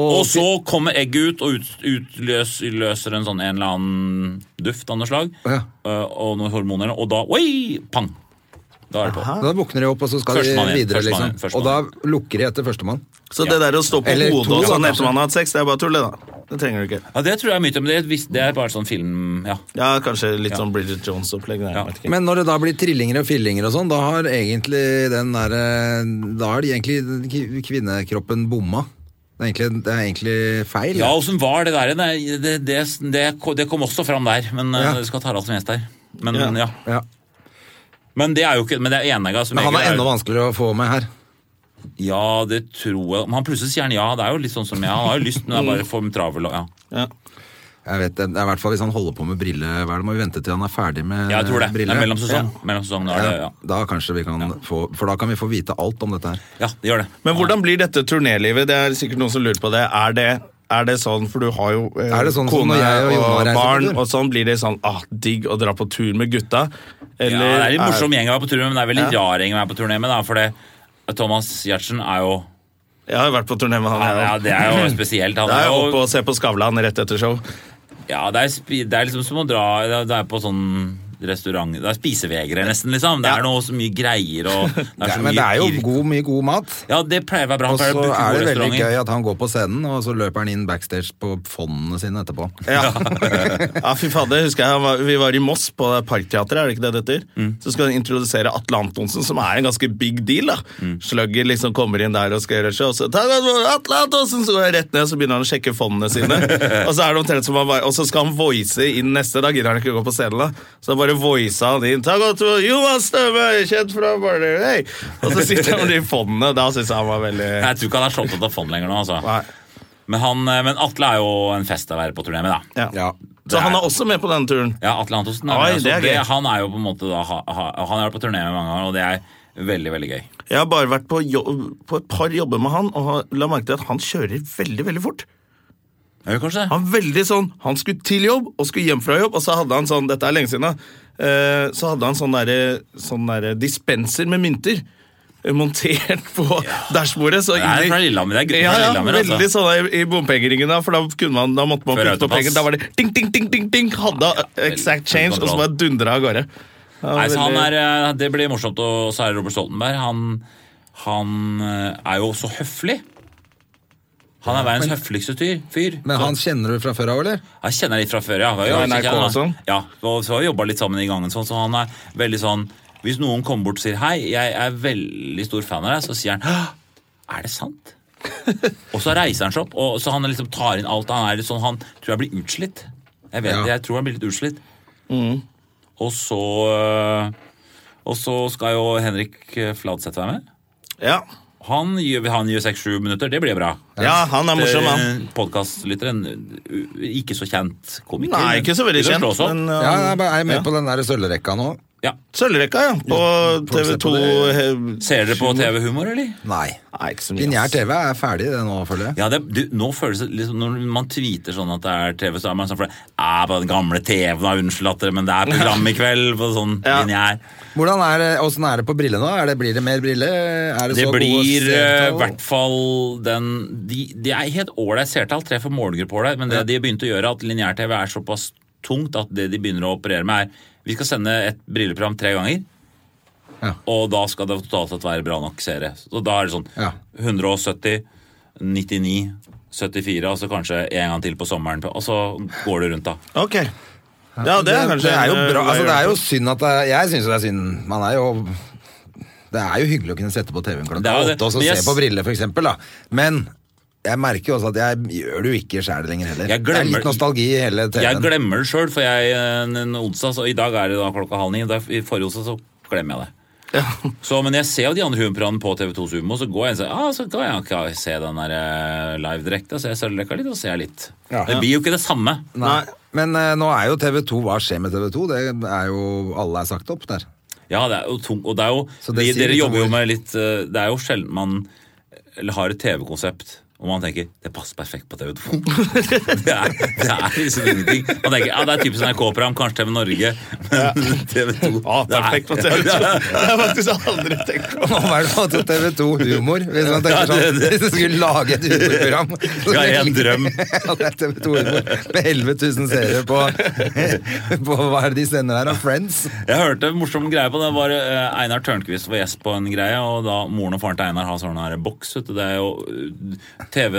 S3: Og så kommer egget ut og ut, utløser løser en sånn en eller annen duft av noe slag
S2: Ja.
S3: øh, og noen hormoner, og da Oi! Pang! Da er det på.
S2: Da våkner de opp, og så skal de
S3: Førstemann igjen,
S2: videre. liksom.
S3: førstemann igjen, førstemann
S2: Og da lukker de etter førstemann.
S1: Så det der å stå på
S2: Eller
S1: hodet
S2: to,
S1: og sånn
S2: da,
S1: etter man har hatt sex, det er bare tull, det, da. Det trenger du ikke.
S3: Ja, Det tror jeg er mye til, men det er, et visst- det er bare sånn film Ja.
S1: Ja, kanskje litt sånn Bridget Jones-opplegg. nei, jeg
S3: Ja.
S1: vet ikke.
S2: Men når det da blir trillinger og fillinger og sånn, da har egentlig den der, eh, Da har de egentlig kvi- kvinnekroppen bomma. Det er egentlig, det er egentlig feil.
S3: Ja, åssen var det der? Nei, det, det, det, det kom også fram der, men eh,
S2: Ja.
S3: det skal Harald som gjest der. Men
S1: Ja.
S3: ja.
S2: Ja.
S3: Men det er jo ikke Men det er enegga som
S2: Men han
S3: regel
S2: er
S3: jo-
S2: enda vanskeligere å få med her.
S3: Ja, det tror jeg Men han plutselig sier han ja. Det er jo litt sånn som jeg. Han har jo lyst, men det er bare for travel. og- Ja.
S1: Ja.
S2: Jeg vet, det Det er i hvert fall Hvis han holder på med brille Hva er det må vi vente til han er ferdig med
S3: Jeg tror det. Det
S2: brille?
S3: er mellomsesong. Mellomsesong, da er det, ja.
S2: Ja, Da kanskje vi kan få For da kan vi få vite alt om dette her.
S3: ja, det gjør det.
S1: Men hvordan blir dette turnélivet? Det er sikkert noen som lurer på det. Er det, er det sånn, for du har jo eh,
S2: Er det sånn som
S1: kone
S2: når jeg og Jonna reiser på
S1: barn,
S2: tur?
S1: og sånn blir det sånn ah, digg å dra på tur med gutta? Eller
S3: ja, det er litt
S1: er-
S3: morsom gjeng å være på turné, men det er veldig rar gjeng å være på turné med, da, for det, Thomas Giertsen er jo
S1: Jeg har jo vært på turné med han. jeg
S3: ja,
S1: også.
S3: Det er jo spesielt. Han
S1: Det er
S3: er
S1: jo oppe
S3: jo
S1: og se på Skavlan rett etter show.
S3: ja, det, er, spi- det er liksom som å dra Det er på sånn restaurant Det er spisevegere, nesten, liksom. Det
S1: Ja.
S3: er noe så mye greier og det er
S2: Det
S3: så
S2: er,
S3: mye
S2: men det er jo
S3: pirk.
S2: god, mye god mat.
S3: Ja, det pleier å være bra.
S2: Og så er det veldig
S3: gøy.
S2: gøy at han går på scenen, og så løper han inn backstage på fondene sine etterpå.
S1: Ja, ja fy fader, husker jeg han var, Vi var i Moss på Parkteatret, er det ikke det det heter? Så skal han introdusere Atle Antonsen, som er en ganske big deal. da Slugger liksom kommer inn der og skal gjøre show, og så «Ta- ta- ta- Atle Antonsen! Så går jeg rett ned, så begynner han å sjekke fondene sine. og så er det omtrent som han var, og så skal han voice inn neste, da gidder han ikke gå på scenen. da Så bare voisa han inn. Ta godt, imot Jonas Støme, kjent fra Barley Hey!» Og så sitter han med de fondene, da syns jeg han var veldig
S3: Jeg tror ikke han er så opptatt av fond lenger nå, altså.
S1: Nei.
S3: Men, han, eh, men Atle er jo en fest å være på turné med, da.
S1: Ja.
S2: Ja.
S1: Så han er også med på denne turen.
S3: Ja, Atle Antonsen. er
S1: Oi,
S3: med, altså.
S1: det er gøy.
S3: han er jo på en måte da, ha, ha, Han har vært på turné med mange ganger, og det er veldig, veldig gøy.
S1: Jeg har bare vært på, jobb, på et par jobber med han, og har- la merke til at han kjører veldig veldig fort.
S3: Er det kanskje det?
S1: Han er veldig sånn, han skulle til jobb og skulle hjem fra jobb, og så hadde han sånn Dette er lenge siden, da. eh, Så hadde han sånn derre sånn derre dispenser med mynter. eh, Montert på dashbordet. Så
S3: Det er fra Lillehammer, det er gutter
S1: ja,
S3: fra
S1: ja,
S3: Lillehammer, altså.
S1: Veldig sånn i, i bompengeringen, da, for da, kunne man, da måtte man
S3: Før
S1: putte på
S3: autopass.
S1: penger. Da var det ding, ding, ding, ding, ding, hadde exact change, og så bare dundra av gårde. Ja,
S3: Nei, så han
S1: veldig-
S3: er, eh, det blir morsomt, og så er det Robert Stoltenberg. Han, han eh, er jo så høflig. Han er verdens høfligste tyr, fyr.
S2: Men
S3: Så-
S2: han kjenner du fra før av, eller?
S3: Jeg kjenner litt fra før, ja.
S1: Fra
S3: Jeg
S1: NRK
S3: kjenner
S1: og sånn?
S3: han. Ja, og så har vi jobba litt sammen i gangen, sånn, så han er veldig sånn Hvis noen kommer bort og sier 'hei, jeg er veldig stor fan av deg', så sier han «Hå! 'er det sant'? og så reiser han seg opp, og så han liksom tar inn alt. Han er litt sånn, han tror jeg blir utslitt. Jeg vet
S2: Ja.
S3: det, jeg tror han blir litt utslitt. Og så øh, Og så skal jo Henrik øh, Fladseth være med.
S1: ja.
S3: Han gir han gir seks-sju minutter, det blir bra.
S1: ja, han er morsom, han.
S3: Podkastlytteren, Eh, ikke så kjent komiker.
S1: Nei,
S3: men
S1: ikke så veldig
S3: vil jo
S1: kjent.
S3: slå oss opp.
S1: Men, eh,
S2: Ja, jeg er bare- jeg er med
S1: Ja.
S2: på den der sølvrekka nå.
S3: Ja.
S1: Sølvrekka, ja. På
S2: folk ser
S1: TV2
S2: på det.
S1: he-
S3: Ser dere på TV Humor, eller?
S2: Nei.
S1: Nei, ikke så mye.
S2: Lineær
S1: ass.
S2: TV er ferdig det nå, føler jeg.
S3: Ja, det, du, nå føles det liksom, Når man tweeter sånn at det er TV, så er man sånn for det er på den gamle TV-en, da, unnskyld at dere, men det er program i kveld, på sånn
S1: Ja.
S3: lineær.
S2: Hvordan er det, Åssen er det på brille nå? Er det, blir det mer brille? Er det,
S3: Det
S2: så
S3: blir eh,
S2: gode
S3: i
S2: seertall?
S3: hvert fall den De, de er helt ålreit seertall, treffer målgrupper ålreit, men det de begynte å gjøre, at lineær-TV er såpass tungt at det de begynner å operere med, er vi skal sende et brilleprogram tre ganger.
S2: Ja.
S3: Og da skal det totalt sett være bra nok seere. Så da er det sånn
S2: Ja.
S3: 170, 99, 74, altså kanskje en gang til på sommeren. Og så går det rundt, da.
S1: Ok. Ja, det er kanskje
S2: det er jo bra. Altså, det er jo
S1: s-
S2: synd at det, Jeg syns jo det er synd. Man er jo Det er jo hyggelig å kunne sette på TV-en
S3: Det
S2: klokka
S3: er jo det.
S2: åtte og så
S3: Men jeg
S2: se på
S3: s-
S2: briller, for eksempel, da. Men jeg merker jo også at jeg gjør det jo ikke sjæl lenger heller. det
S3: Jeg
S2: er
S3: glemmer-
S2: litt nostalgi i hele
S3: Jeg
S2: TV-en.
S3: glemmer det sjøl, for jeg en en onsdag så I dag er det da klokka halv ni. og da- I forrige onsdag så glemmer jeg det. Så, men jeg ser jo de andre humorprogrammene på TV2 Sumo, så går jeg inn og sier ah, så kan jeg ikke se den der eh, live direkte. Så jeg sølvlekka litt, og ser litt.
S2: Ja.
S3: Det blir jo ikke det samme.
S2: Nei. Men eh, nå er jo TV2 Hva skjer med TV2? Det er jo Alle er sagt opp der.
S3: Ja, det er jo tungt. Og det er jo,
S2: Så det
S3: de,
S2: sier
S3: dere
S2: litt om
S3: jobber jo
S2: hvor-
S3: med litt eh, Det er jo sjelden man eller har et TV-konsept Og man tenker det passer perfekt på TV 2. det, er, det er liksom ingenting. Man tenker ja, det er typisk NRK-program, kanskje TV Norge. Men TV 2
S1: Ja, perfekt på TV 2. Det har jeg faktisk aldri tenkt på.
S2: Nå er det altså TV 2 Humor. Hvis man tenker
S3: Ja, det-
S2: sånn,
S3: det-
S2: hvis du skulle lage et humorprogram så-
S3: Ja, en drøm.
S2: Ja, det er TV 2 Humor med 11 000 seere på, på hva er det de sender her, av Friends.
S3: Jeg hørte en morsom greie på det. Det var eh, Einar Tørnquist var gjest på en greie, og da moren og faren til Einar har sånn her boks. Vet du, det er jo eh, TV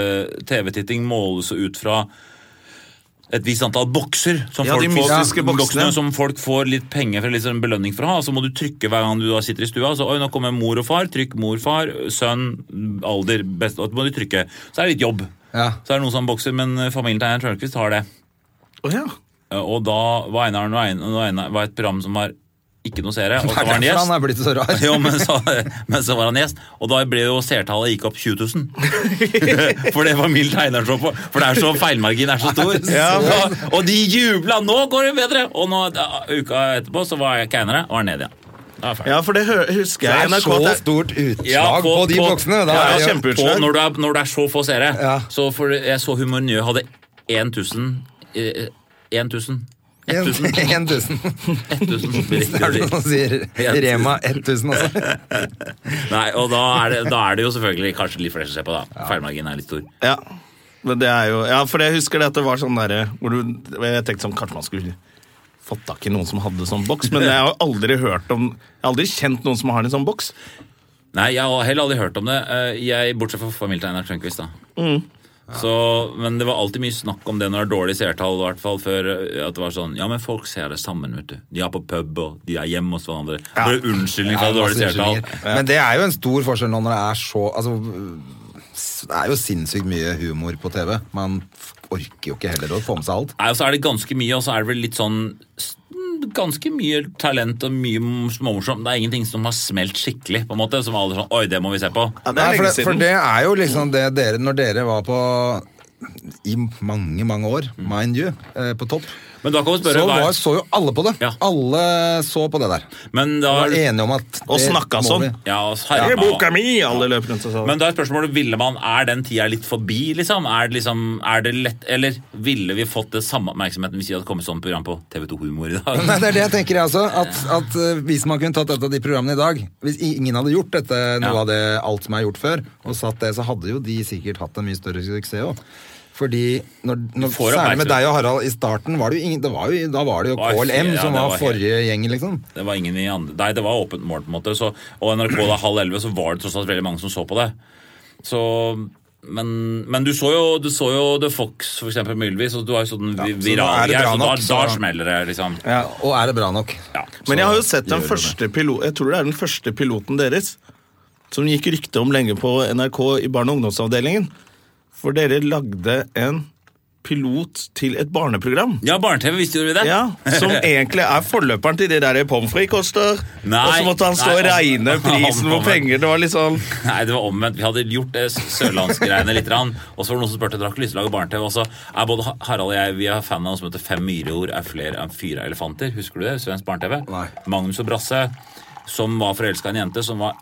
S3: TV-titting måles jo ut fra et visst antall bokser som,
S1: Ja, de
S3: folk,
S1: mystiske
S3: får,
S1: boksene.
S3: boksene som folk får litt penger for, litt sånn belønning for å ha. Så må du trykke hver gang du da sitter i stua. Så, Oi, nå kommer mor og far. Trykk mor, far, sønn, alder. Best, og så må du trykke. Så er det litt jobb.
S2: Ja.
S3: Så er det noen som bokser, men eh, familien til Einar Tørnquist har det.
S1: Å ja.
S3: Eh, Og da var Einar, når Einar, når Einar var et program som var ikke noe seere, og
S2: Det
S3: så
S2: er
S3: var han
S2: derfor han
S3: gjest.
S2: er blitt så rar.
S3: Jo, men så, men så var han gjest, og da ble jo seertallet gikk opp 20 000. For det var mildt Einar så på, for det er så feilmargin er så stor.
S1: Ja,
S3: og, og de jubla! Nå går det bedre! Og nå, da, uka etterpå så var jeg keinere og var ned igjen. Da var jeg ferdig.
S1: ja, for det hø- husker
S2: Det
S1: jeg i
S2: er
S1: NRK.
S2: så
S1: at det-
S2: stort utslag
S3: Ja,
S2: på, de boksene. Da
S1: Ja,
S2: er det
S1: kjempe-
S2: jo-
S1: kjempeutslag.
S3: På når, det er, når det er så få seere.
S2: Ja.
S3: Så for, jeg så Humor Njø hadde 1000 eh, 1000. 1000.
S2: 1000.
S3: 1000 blir
S2: Det er
S3: riktig å
S2: det
S3: si.
S2: som sier Rema 1000 også.
S3: Nei, og da er, det, da er det jo selvfølgelig kanskje litt flere som ser på, da. Feilmarginen er litt stor.
S1: Ja. Men det er jo, ja, for jeg husker det at det var sånn derre hvor du, Jeg tenkte sånn, kanskje man skulle fått tak i noen som hadde sånn boks, men jeg har jo aldri hørt om Jeg har aldri kjent noen som har en sånn boks.
S3: Nei, jeg har heller aldri hørt om det, eh, jeg, bortsett fra familien til Einar Tørnquist, da. Så, men det var alltid mye snakk om det når det er dårlig seertall. i hvert fall, før, eh, At det var sånn Ja, men folk ser det sammen, vet du. De er på pub, og de er hjemme hos hverandre. Bare unnskyldning for dårlig
S2: Masse
S3: seertall.
S2: unnskyldninger. Men det er jo en stor forskjell nå når det er så altså, Det er jo sinnssykt mye humor på TV. Man f- orker jo ikke heller å få med seg alt.
S3: Nei, og så er det ganske mye, og så er det vel litt sånn s- Ganske mye talent og mye m- småmorsomt. Det er ingenting som har smelt skikkelig, på en måte. Som alle er sånn Oi, det må vi se på.
S1: Ja, det er
S2: Nei, for,
S1: lenge
S2: det, for
S1: siden.
S2: det er jo liksom det dere Når dere var på i mange, mange år,
S1: Mm.
S2: mind you, eh, på topp,
S3: Men da kan vi spørre
S2: så
S3: hva
S2: var,
S3: er-
S2: så jo alle på det.
S3: Ja.
S2: Alle så på det der.
S3: Men da
S2: Var enige om at
S1: Og
S2: det
S1: snakka
S2: må
S1: sånn.
S2: vi.
S3: ja, og
S1: Det
S3: herre,
S1: er boka mi! Alle løp rundt og sa det.
S3: Men da er spørsmålet ville man, er den tida litt forbi, liksom? Er det, liksom, er det lett, eller ville vi fått det samme oppmerksomheten hvis vi hadde kommet sånn program på TV2 Humor i dag?
S2: Nei, det er det jeg tenker jeg også. At, at eh, hvis man kunne tatt et av de programmene i dag Hvis i- ingen hadde gjort dette, noe
S3: Ja.
S2: av det alt som er gjort før, og satt det, så hadde jo de sikkert hatt en mye større suksess òg. Fordi når, når,
S3: får
S2: Særlig med
S3: oppmerksomhet.
S2: deg og Harald, i starten var det jo ingen det var jo, Da var det jo
S3: Var-
S2: KLM
S3: ja,
S2: som
S3: det
S2: var,
S3: var helt-
S2: forrige gjeng, liksom.
S3: Det var ingen i andre Nei, det var åpent mål, på en måte. Så, og NRK da halv elleve, så var det tross alt veldig mange som så på det. Så men, men du så jo du så jo The Fox, for eksempel, Mylvis, og du har jo sånn vi-
S2: så da er
S3: viral
S2: det
S3: greie,
S2: bra
S3: så da,
S2: nok, så-
S3: da smeller det, liksom.
S2: Og er det bra nok?
S3: Ja.
S1: Men jeg har jo sett den
S2: gjør det
S1: første pilot, jeg tror det er den første piloten deres, som gikk rykte om lenge på NRK i barne- og ungdomsavdelingen. For dere lagde en pilot til et barneprogram.
S3: Ja, Barne-TV, visste gjorde vi det?
S1: Ja, Som egentlig er forløperen til de der pommes frites koster.
S3: Nei,
S1: og så måtte han stå
S3: nei,
S1: og regne
S3: han-
S1: prisen
S3: han-
S1: på penger. Det var litt sånn
S3: Nei, det var omvendt. Vi hadde gjort det sørlandsgreiene litt. grann, Og så var det noen som spurte drakk lyst til å lage barne-TV. Og så er både Ha- Harald og jeg vi er fan av noe som heter Fem myror er flere enn fire elefanter. Husker du det? Svensk barne-TV.
S2: Nei.
S3: Magnus og Brasse, som var forelska i en jente som var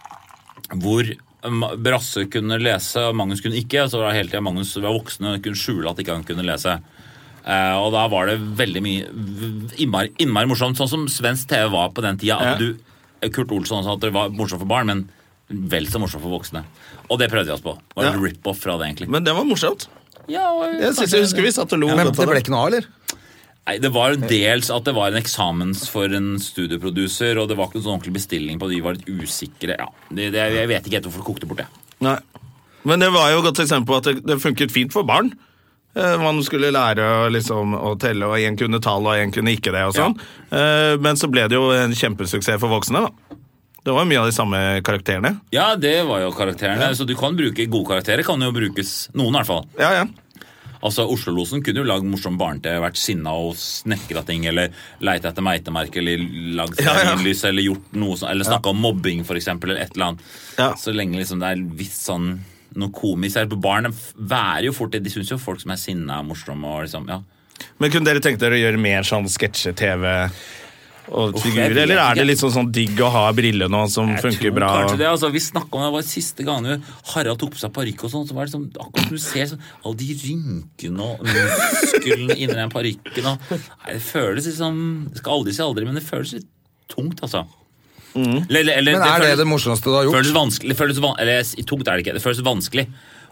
S3: hvor Ma- Brasse kunne lese, og Magnus kunne ikke. Så var det hele tiden Magnus var voksen og kunne skjule at ikke han kunne lese. Eh, og da var det veldig mye v- innmari, innmari morsomt, sånn som svensk TV var på den tida. At
S1: Ja.
S3: du, Kurt Olsson sa at det var morsomt for barn, men vel så morsomt for voksne. Og det prøvde vi oss på. Det Var en
S1: Ja.
S3: rip-off fra det, egentlig.
S1: Men det var morsomt.
S3: Ja, og
S1: Jeg, synes, jeg husker vi satt og lo.
S2: Men
S1: godt av
S2: det ble ikke noe av, eller?
S3: Nei, Det var dels at det var en eksamens for en studieproducer, og det var ikke noen sånn ordentlig bestilling på det. Vi var litt usikre. Ja, det, det, Jeg vet ikke helt hvorfor det kokte bort, jeg.
S1: Nei. Men det var jo et godt eksempel på at det, det funket fint for barn. Eh, Man skulle lære å, liksom, å telle, og én kunne tall, og én kunne ikke det. og sånn. Eh, Men så ble det jo en kjempesuksess for voksne. da. Det var jo mye av de samme karakterene.
S3: Ja, det var jo karakterene. Så du kan bruke gode karakterer. Kan jo brukes Noen, i hvert fall.
S1: Ja, ja.
S3: Altså, Oslo-losen kunne jo lagd morsom barne-TV, vært sinna og snekra ting, eller leit etter meitemerke, eller lagd
S1: Ja, ja.
S3: stearinlys, eller gjort noe sånt, eller snakka om mobbing, for eksempel, eller et eller annet.
S1: Ja.
S3: Så lenge liksom det er visst sånn noe komisk her. Barn f- værer jo fort det. De syns jo folk som er sinna, er morsomme og liksom Ja.
S1: Men kunne dere tenkt dere å gjøre mer sånn sketsje-TV? og
S3: Uff,
S1: figurer,
S3: jeg vet
S1: eller er det
S3: ikke.
S1: litt sånn, sånn digg å ha briller nå som
S3: Jeg
S1: funker
S3: tror
S1: bra?
S3: Kanskje det, altså, vi snakket om det, det var siste gangen Harald tok på seg parykk og sånn, så var det som, akkurat som du ser sånn, alle de rynkene og musklene inni den parykken. og- Nei, Det føles liksom Jeg skal aldri si aldri, men det føles litt tungt, altså. Eller- eller- eller-
S2: Mm. Men er det
S3: føles-
S2: det morsomste du har gjort?
S3: føles vanskelig, det føles van eller, s- tungt er det ikke, det føles vanskelig.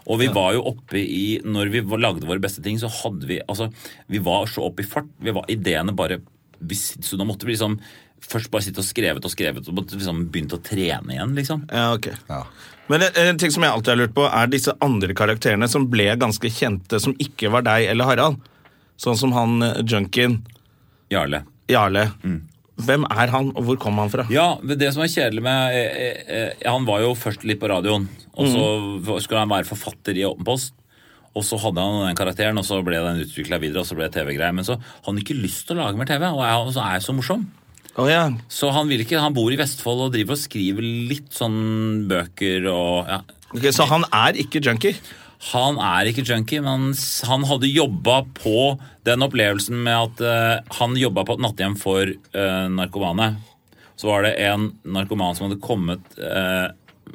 S3: Og vi var jo oppe i, når vi var- lagde våre beste ting, så hadde vi, altså, vi var så oppe i fart, vi var ideene bare, vi, s- så da måtte vi liksom, først bare sitte og skrevet og skrevet, og måtte liksom begynte å trene igjen, liksom.
S1: Ja, ok.
S2: Ja.
S1: Men en, en ting som jeg alltid har lurt på, er disse andre karakterene som ble ganske kjente, som ikke var deg eller Harald. Sånn som han eh, junkien,
S3: Jarle.
S1: Jarle. Hvem er han, og hvor kom han fra?
S3: Mm. Ja, men det som er kjedelig med eh, eh, eh, Han var jo først litt på radioen, og så skulle han være forfatter i Åpen post. Og så hadde han den karakteren, og så ble den utvikla videre. og så ble det TV-greier, Men så hadde han ikke lyst til å lage mer TV, og er, så er jo så morsom.
S1: Å ja.
S3: Så han vil ikke, han bor i Vestfold og driver og skriver litt sånn bøker og ja.
S1: Ok, så han er ikke junkie?
S3: Han er ikke junkie, men s- han hadde jobba på den opplevelsen med at eh, han jobba på et nattehjem for eh, narkomane. Så var det en narkoman som hadde kommet eh,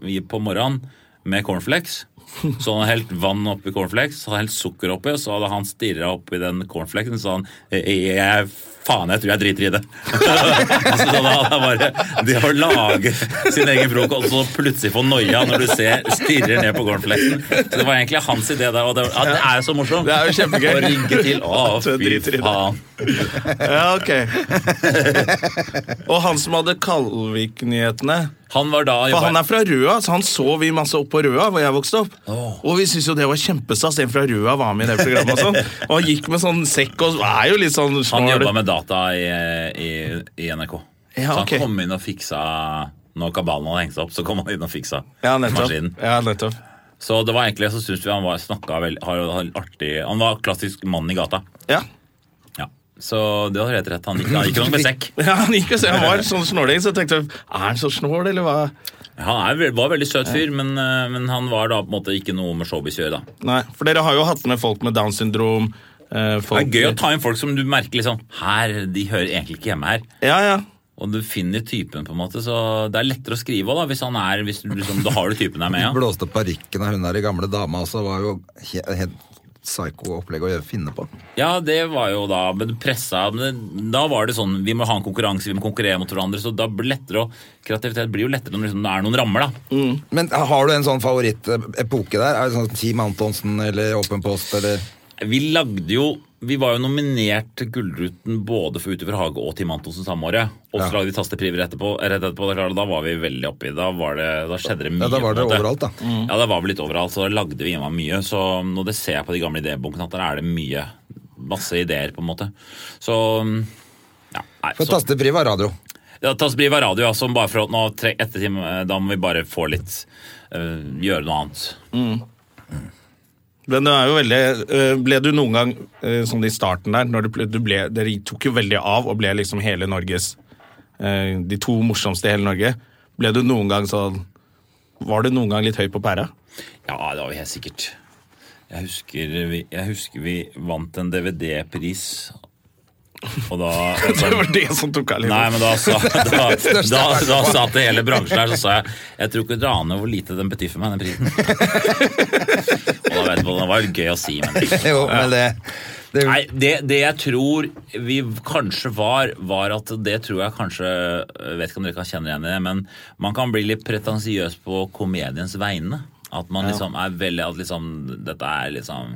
S3: i- på morgenen med cornflakes. Så han hadde helt vann oppi cornflakes, så hadde han helt sukker oppi, og så hadde han stirra oppi den cornflakesen, så han eh, jeg, Faen, jeg tror jeg driter i det. altså, så da hadde han bare Det å lage sin egen frokost, og så plutselig få noia når du ser stirrer ned på cornflakesen. Så det var egentlig hans idé der, og det, ja, det er jo så morsomt.
S1: Det er jo kjempegøy.
S3: Å rygge til. Å,
S1: At jeg
S3: fy
S1: driter i det.
S3: faen.
S1: Ja, ok. og han som hadde Kalvik-nyhetene
S3: Han var da
S1: For han er fra Røa, så han så vi masse opp på Røa hvor jeg vokste opp. Og vi syntes jo det var kjempestas. En fra Røa var med i det programmet. Og sånn. Og han gikk med sånn sekk og er jo litt sånn
S3: Han
S1: snål.
S3: jobba med data i, i, i NRK.
S1: Ja,
S3: så
S1: ok.
S3: han kom inn og fiksa Når kabalen hadde hengt seg opp, så kom han inn og fiksa
S1: ja, nettopp.
S3: maskinen.
S1: Ja, nettopp.
S3: Så det var egentlig, så syns vi han var snakka veldig har- har artig Han var klassisk mann i gata.
S1: Ja.
S3: Ja. Så det var helt rett. Han gikk, han gikk nok med sekk.
S1: ja, han gikk og se. Han var sånn snåling, så jeg tenkte er han så snål, eller hva?
S3: Han er, vel- var en veldig søt fyr, men, eh, men han var da på en måte ikke noe med showbiz å gjøre, da.
S1: Nei, for dere har jo hatt med folk med Downs syndrom. eh,
S3: Det
S1: Folk...
S3: er gøy å ta inn folk som du merker liksom Her, de hører egentlig ikke hjemme her.
S1: Ja, ja.
S3: Og du finner typen, på en måte, så det er lettere å skrive òg, da, hvis han er hvis du, liksom, Da har du typen der med, ja.
S2: Blåste parykken av hun der gamle dama også, var jo he- helt psyko opplegg å gjøre- finne på.
S3: Ja, det var jo da Men pressa men Da var det sånn Vi må ha en konkurranse, vi må konkurrere mot hverandre, så da blir det lettere å Kreativitet blir jo lettere når det liksom, det er noen rammer, da.
S2: Men har du en sånn favorittepoke der? Er det sånn Team Antonsen eller Åpen post eller
S3: Vi lagde jo Vi var jo nominert til Gullruten både for Utover hage og Team Antonsen samme året. Og så
S2: Ja.
S3: lagde vi Tastepriver etterpå. Rett etterpå det er klart, da var vi veldig oppi. Da, var det, da skjedde det mye.
S2: Ja, da var
S3: på en
S2: det
S3: måte.
S2: overalt, da.
S3: Ja, da var vi litt overalt, så da lagde vi hjemme mye. Så nå det ser jeg på de gamle idébunkene, at der er det mye. Masse ideer, på en måte. Så ja, nei,
S2: For
S3: så-
S2: tastepri var radio.
S3: Ja, Tasbri var radio, altså, bare for at nå tre- etter time, eh, da må vi bare få litt eh, Gjøre noe annet.
S1: Men det er jo veldig eh, Ble du noen gang eh, sånn i starten der når du ble, du ble, Dere tok jo veldig av og ble liksom hele Norges eh, De to morsomste i hele Norge. Ble du noen gang sånn Var du noen gang litt høy på pæra?
S3: Ja, det var vi helt sikkert. Jeg husker vi, jeg husker vi vant en DVD-pris, og da
S1: Det var det som tok av litt.
S3: Nei, men da sa, da, da, da sa til hele bransjen her, så sa jeg Jeg tror ikke dere aner hvor lite den betyr for meg, den prisen. og da vet du, hva, det var jo gøy å si, men
S2: Jo, men det, det
S3: Nei, det, det jeg tror vi kanskje var, var at det tror jeg kanskje jeg Vet ikke om dere kan kjenne igjen i det, men man kan bli litt pretensiøs på komediens vegne. At man liksom er veldig At liksom dette er liksom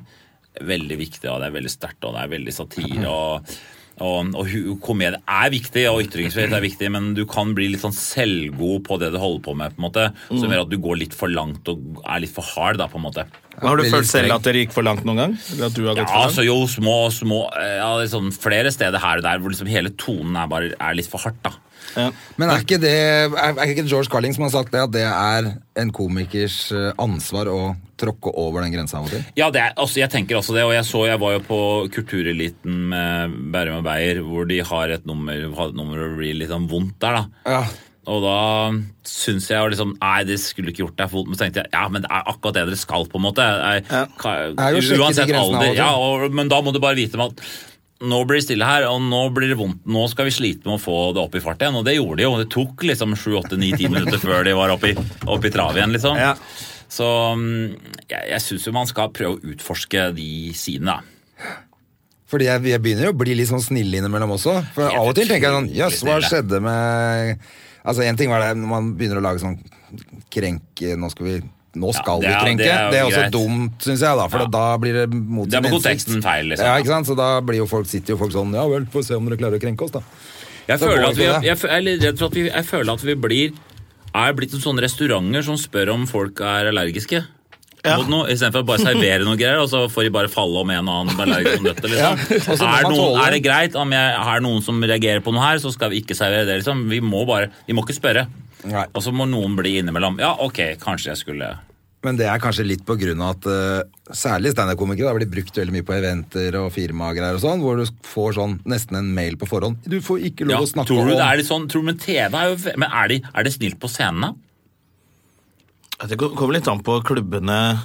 S3: veldig viktig, og det er veldig sterkt, og det er veldig satire. og og, og hu- komedie er viktig, og ytringsfrihet er viktig, men du kan bli litt sånn selvgod på det du holder på med, på en måte, som gjør at du går litt for langt og er litt for hard, da, på en måte.
S1: Har du
S2: Veldig
S1: følt
S2: streng.
S1: selv at dere gikk for langt noen gang? Eller at du har gått
S3: Ja,
S1: for
S3: altså
S1: langt?
S3: jo, små, små eh, ja, liksom Flere steder her og der hvor liksom hele tonen er, bare, er litt for hardt, da.
S1: Ja.
S2: Men er ikke det er, er ikke George Carling som har sagt det, at det er en komikers eh, ansvar å tråkke over den grensa av og til?
S3: Ja, det er, altså, jeg tenker også det, og jeg så jeg var jo på Kultureliten med Bærum og Beyer, hvor de har et nummer, hadde et nummer hvor det blir litt sånn vondt der, da.
S2: Ja.
S3: Og da syns jeg jo liksom Nei, det skulle ikke gjort deg for vondt, men så tenkte jeg ja, men det er akkurat det dere skal, på en måte. Jeg,
S1: Ja.
S3: ka-
S2: Det er jo å sjekke de
S3: uansett
S2: grensene av og
S3: alder.
S2: til.
S3: Ja, og, men da må du bare vite med at nå blir det stille her, og nå blir det vondt. Nå skal vi slite med å få det opp i fart igjen. Og det gjorde de jo. Det tok liksom sju, åtte, ni, ti minutter før de var oppe i, oppe i trav igjen, liksom.
S1: Ja.
S3: Så mm, jeg, jeg syns jo man skal prøve å utforske de sidene, da.
S2: Fordi jeg, jeg begynner jo å bli litt sånn snille innimellom også. For
S3: Helt
S2: av og til tenker jeg sånn
S3: utrolig
S2: Jøss, hva
S3: snille.
S2: skjedde med Altså, én ting var det når man begynner å lage sånn krenk Nå skal vi nå skal
S3: det er-
S2: vi krenke.
S3: det
S2: Det
S3: er
S2: er,
S3: jo
S2: også
S3: greit.
S2: dumt, syns jeg, da, for
S3: Ja.
S2: da blir det mot
S3: Det er
S2: sin
S3: på
S2: hensikt.
S3: konteksten feil, liksom.
S2: Ja, ikke sant? Så da blir jo folk, sitter jo folk sånn Ja vel, får se om dere klarer å krenke oss, da.
S3: Jeg
S2: Da
S3: føler
S2: går
S3: at vi,
S2: ikke
S3: jeg,
S2: det.
S3: jeg er litt redd for at vi, jeg føler at vi blir er blitt en sånne restauranter som spør om folk er allergiske.
S1: Ja.
S3: Mot noe, Istedenfor å bare servere noe greier, og så får de bare falle om en og annen allergisk som dette. Liksom.
S2: Ja, og så må
S3: er,
S2: man
S3: noen,
S2: tåle.
S3: er det greit om jeg har noen som reagerer på noe her, så skal vi ikke servere det. Liksom. Vi må bare, vi må ikke spørre.
S2: Nei.
S3: Og så må noen bli innimellom. Ja, ok, kanskje jeg skulle
S2: Men det er kanskje litt på grunn av at eh, særlig standup-komikere da, blir brukt veldig mye på eventer og firmagreier og sånn, hvor du får sånn nesten en mail på forhånd. Du får ikke lov
S3: ja,
S2: å snakke
S3: Tror du
S2: om
S3: det er litt sånn? Tror du, men TV er jo Men er det, er det snilt på scenene?
S1: Det kommer litt an på klubbene.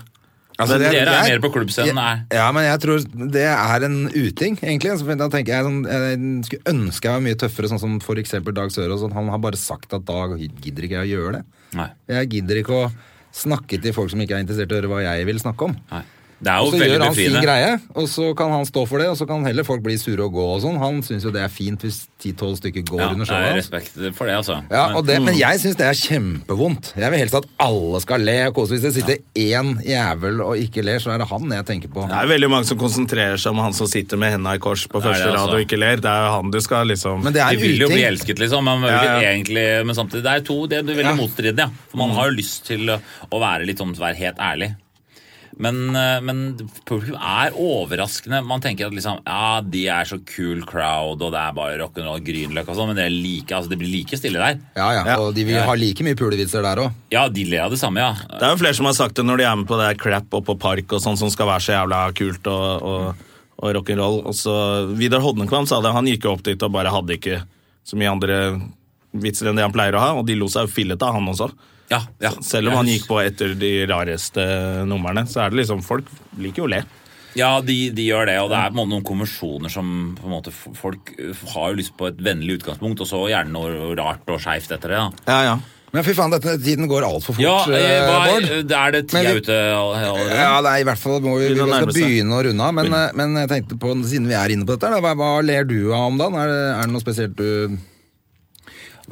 S2: Altså, det-
S3: Dere er
S2: jeg-
S3: mer på klubbscenen.
S2: Ja,
S3: er-
S2: Ja, men jeg tror det er en uting, egentlig. Så da tenker jeg, sånn, jeg skulle ønske jeg var mye tøffere, sånn som for eksempel Dag Sørås. Sånn, han har bare sagt at Dag gidder ikke jeg å gjøre det.
S3: Nei.
S2: Jeg gidder ikke å snakke til folk som ikke er interessert i å høre hva jeg vil snakke om.
S3: Nei. Det er
S2: Og
S3: jo
S2: så
S3: veldig
S2: gjør han sin
S3: befriende.
S2: greie, og så kan han stå for det, og så kan heller folk bli sure og gå og sånn. Han syns jo det er fint hvis 10-12 stykker går
S3: Ja,
S2: under
S3: det
S2: showet.
S3: er
S2: hans.
S3: respekt for det, altså.
S2: Ja,
S3: Men-
S2: og det, Men jeg syns det er kjempevondt. Jeg vil helst at alle skal le og kose. Hvis det sitter én jævel og ikke ler, så er det han jeg tenker på.
S1: Det er veldig mange som konsentrerer seg om han som sitter med henda i kors på
S3: Det er
S1: første
S3: det,
S1: rad
S3: altså.
S1: og ikke ler. Det er jo han du skal liksom
S2: Men det er
S3: De vil
S2: en
S3: jo bli
S2: uting.
S3: elsket, liksom. Men, man vil
S1: Ja, ja.
S3: Egentlig, men samtidig, det er to Det er veldig
S2: Ja. Mm.
S3: motstridende, ja. For man har jo lyst til å å være litt sånn være helt ærlig. Men, eh, men publikum er overraskende. Man tenker at liksom Ja, de er så cool crowd, og det er bare rock'n'roll, Grünerløkka og sånn, men det, er like, altså, det blir like stille der.
S2: Ja, ja,
S1: Ja.
S2: og de vil ha like mye pulevitser der òg.
S3: Ja, de ler av det samme, ja.
S1: Det er jo flere som har sagt det når de er med på det der crap og på park og sånn, som skal være så jævla kult og, og, og rock'n'roll. Og så Vidar Hodnekvam sa det, han gikk jo opp dit og bare hadde ikke så mye andre vitser enn det han pleier å ha, og de lo seg jo fillete av han også.
S3: ja, ja.
S1: Selv om han gikk på etter de rareste numrene, så er det liksom Folk liker jo å le.
S3: Ja, de, de gjør det, og det er på en måte noen konvensjoner som på en måte, f- Folk eh, har jo lyst på et vennlig utgangspunkt, og så gjerne noe rart og skeivt etter det. da
S1: Ja, ja.
S2: Men fy faen, dette, tiden går altfor fort,
S3: Ja,
S2: eh,
S3: eh, hva,
S2: Bård.
S3: er det
S2: Men
S3: tida
S2: vi-
S3: ute all- allerede?
S2: Ja, det er i hvert fall må vi, vi
S1: Begynner å
S2: skal
S1: nærme seg.
S2: begynne å runde av. Men, eh, men jeg tenkte på, siden vi er inne på dette, her, da, hva, hva ler du av om dagen? Er det, er det noe spesielt du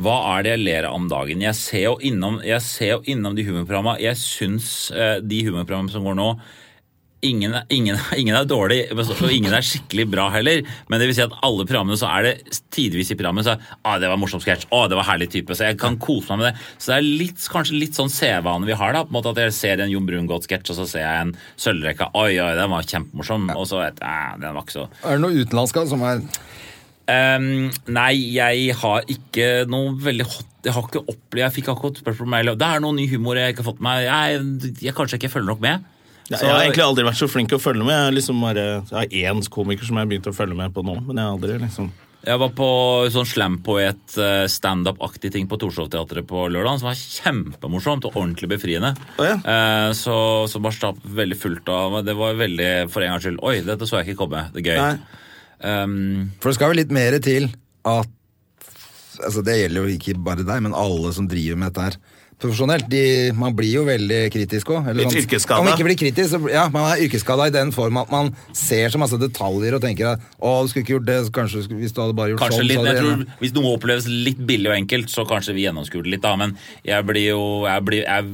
S3: Hva er det jeg ler av om dagen? Jeg ser jo innom, jeg ser jo innom de humorprogramma. Jeg syns eh, de humorprogramma som går nå Ingen, er- ingen, ingen er dårlig, men så- og ingen er skikkelig bra heller. Men det vil si at alle programmene så er det tidvis i programmet så er, ah, det var morsom sketsj. Ah, det var herlig type. Så jeg kan kose meg med det. Så det er litt, kanskje litt sånn sevane vi har. da, på en måte At jeg ser en Jon Brungot-sketsj, og så ser jeg en Sølvrekka. Oi, oi, den var kjempemorsom. Og så vet jeg, eh, den var ikke så
S2: Er det noe utenlandsk av som er
S3: Ehm, nei, jeg har ikke noe veldig hot Jeg har ikke opplevd Jeg fikk akkurat spørsmål om jeg Det er noe ny humor jeg ikke har fått med meg. Jeg, jeg kanskje ikke følger nok med.
S1: Ja,
S3: Så-
S1: jeg har egentlig aldri vært så flink til å følge med. Jeg, har liksom bare, jeg har én komiker som jeg har begynt å følge med på nå, men jeg har aldri liksom
S3: Jeg var på sånn slampoet, eh, standup-aktig ting på Torshov-teatret på lørdag, som var kjempemorsomt og ordentlig befriende.
S1: Å ja.
S3: Eh, så, så bare stapp veldig fullt av Det var veldig, for en gangs skyld Oi, dette så jeg ikke komme. Det er gøy.
S1: Nei.
S3: Ehm,
S2: For det skal vel litt mer til at altså Det gjelder jo ikke bare deg, men alle som driver med dette her profesjonelt. De, man blir jo veldig kritisk òg.
S1: Litt yrkesskada.
S2: Om man ikke blir kritisk, så blir- ja, man er yrkesskada i den form at man ser så masse detaljer og tenker at å, du skulle ikke gjort det, så kanskje du skulle- hvis du hadde bare gjort
S3: Kanskje
S2: sånn,
S3: litt,
S2: så hadde
S3: jeg
S2: det-
S3: tror Hvis noe oppleves litt billig og enkelt, så kanskje vi gjennomskuer det litt, da. Men jeg blir jo jeg blir, jeg,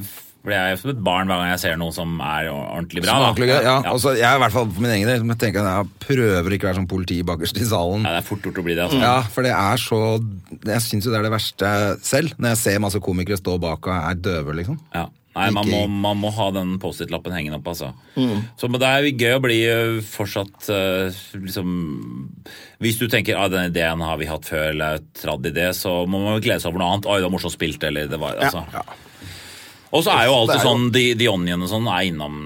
S3: blir jeg som et barn hver gang jeg ser noe som er ordentlig bra.
S2: Som
S3: da.
S2: ordentlig gøy, ja.
S3: Ja.
S2: Og så jeg er i hvert fall for min egen del men tenker at jeg prøver å ikke være sånn politi bakerst i salen.
S3: Ja, det er fort gjort å bli det. Altså.
S2: Ja, for det er så Jeg syns jo det er det verste selv, når jeg ser masse komikere stå bak og er døve, liksom.
S3: Ja. Nei, man må,
S2: Ikke- Mm.
S3: man må ha den Post-It-lappen hengende opp, altså. Så men det er jo gøy å bli ø, fortsatt ø, liksom Hvis du tenker at den ideen har vi hatt før, eller tradd i det, så må man jo glede seg over noe annet. Oi, det var morsomt spilt, eller det var altså.
S2: ja.
S3: Og så er jo alltid
S2: Det er jo-
S3: sånn The, The Onion og sånn er innom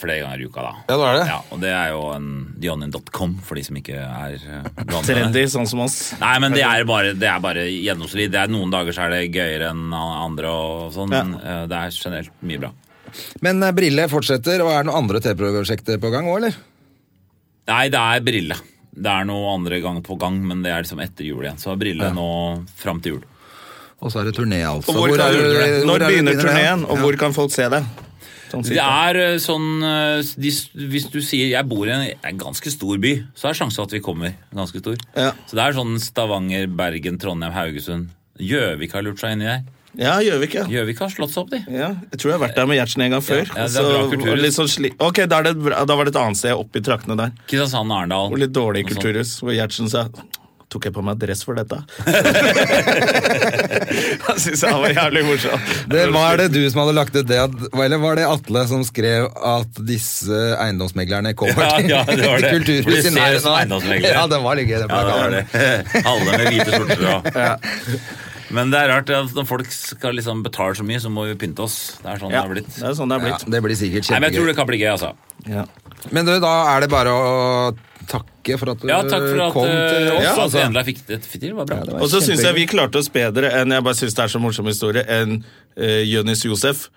S3: flere ganger i uka, da.
S2: Ja, det er det.
S3: Ja, og det er jo en theonion.com for de som ikke er ø, vant med det.
S1: trendy, sånn som oss.
S3: Nei, men det er bare, det er bare gjennomsnittlig. Det er Noen dager så er det gøyere enn andre og sånn,
S1: Ja.
S3: men ø, det er generelt mye bra.
S2: Men eh, Brille fortsetter, og er det noen andre TV-prosjekter på gang òg, eller?
S3: Nei, det er brille. Det er noe andre gang på gang, men det er liksom etter jul igjen. Så brille nå fram til jul.
S2: Og så er det turné, altså.
S1: Og hvor
S2: er
S1: kan,
S2: det- hvor er
S1: når
S2: det
S1: begynner
S2: det?
S1: turneen, og
S2: Ja.
S1: hvor kan folk se det? Sånn
S3: Det
S1: cirka.
S3: er eh, sånn eh, de, Hvis du sier jeg bor i en, en ganske stor by, så er sjansen at vi kommer ganske stor.
S1: Ja.
S3: Så det er sånn Stavanger, Bergen, Trondheim, Haugesund. Gjøvik har lurt seg inn i der.
S1: Ja, Gjøvik, ja.
S3: Gjøvik har slått seg opp, de.
S1: ja. Jeg tror jeg har vært der med Gjertsen en gang før.
S3: Ja, ja, det er
S1: så
S3: bra kulturhus.
S1: var det litt sånn sli ok, da, er det, bra- da var det et annet sted opp i traktene der.
S3: Kristiansand, sånn Arendal.
S1: Og litt dårlig
S3: Noe sånt.
S1: kulturhus, hvor Gjertsen sa Tok jeg på meg dress for dette? Han syntes han var jævlig morsom.
S2: Det var det du som hadde lagt ut det, at- eller var det Atle som skrev at disse eiendomsmeglerne kommer
S3: Ja, ja, det var det. Hvor de
S2: kulturhuset i
S3: ser
S2: nærheten
S3: som
S2: av-
S3: eiendomsmeglere.
S2: Ja, den var litt gøy. den
S3: Ja, det var
S2: plakaten.
S3: det. Alle med hvite skjorter og Men det er rart at når folk skal liksom betale så mye, så må vi pynte oss. Det er sånn
S1: Ja,
S3: det er
S1: det
S3: blitt.
S1: er sånn det er
S2: Ja,
S1: blitt.
S2: det blir sikkert
S3: Nei, men jeg tror
S2: kjempegøy.
S3: det kan bli gøy, altså.
S1: Ja.
S2: Men du, da er det bare å takke for at du
S3: Ja, takk for at,
S2: kom til
S3: eh,
S2: oss.
S3: at vi
S2: altså.
S3: endelig fikk det til. Det var bra.
S2: Ja, det var
S1: Og så syns jeg
S2: kjempegøy.
S1: vi klarte oss bedre enn jeg bare synes det er så morsom historie, enn uh, Jonis Josef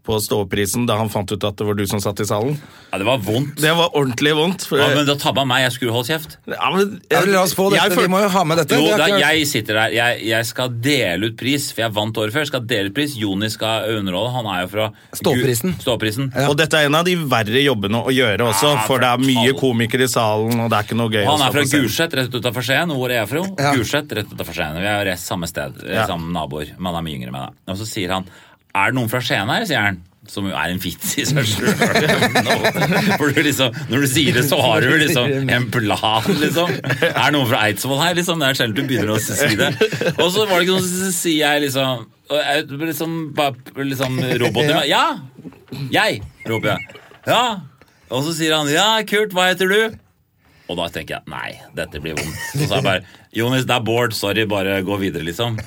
S1: på Ståprisen da han fant ut at det var du som satt i salen.
S3: Ja, det var vondt.
S1: Det var ordentlig vondt. For,
S3: Ja, men da tabba meg. Jeg skulle holdt kjeft.
S1: Ja, men-
S2: Ja, men la oss få dette.
S1: Jeg føl-
S2: Vi må jo ha med dette.
S3: Jo,
S2: Det er
S3: da,
S2: klart.
S3: jeg sitter der. Jeg, jeg skal dele ut pris, for jeg vant året før. Jeg skal dele ut pris. Joni skal underholde. Han er jo fra
S2: Ståprisen.
S3: Ståprisen.
S1: Og dette er en av de verre jobbene å gjøre også,
S3: Ja,
S1: for det er mye
S3: fortell.
S1: komikere i salen, og det er ikke noe gøy.
S3: Han
S1: å
S3: er
S1: stå
S3: fra
S1: på scenen.
S3: Gulset, rett utafor Skien. Og Hvor er jeg fra?
S2: Ja.
S3: Gulset, rett utenfor Skien. Vi er rett samme sted,
S1: Ja.
S3: samme naboer. Men han er mye yngre enn meg, da. Og så sier han Er det noen fra Skien her? sier han. Som jo er en vits i seg sjøl. For du liksom, når du sier det, så har du liksom en plan, liksom. Er det noen fra Eidsvoll her, liksom? Det er sjelden du begynner å si det. Og så var det ikke noe, så sier jeg liksom og jeg liksom, bare liksom robot i meg. Ja! Jeg! roper jeg. Ja! Og så sier han ja, kult, hva heter du? Og da tenker jeg nei, dette blir vondt. Så sa jeg bare Jonis, det er Bård, sorry, bare gå videre, liksom.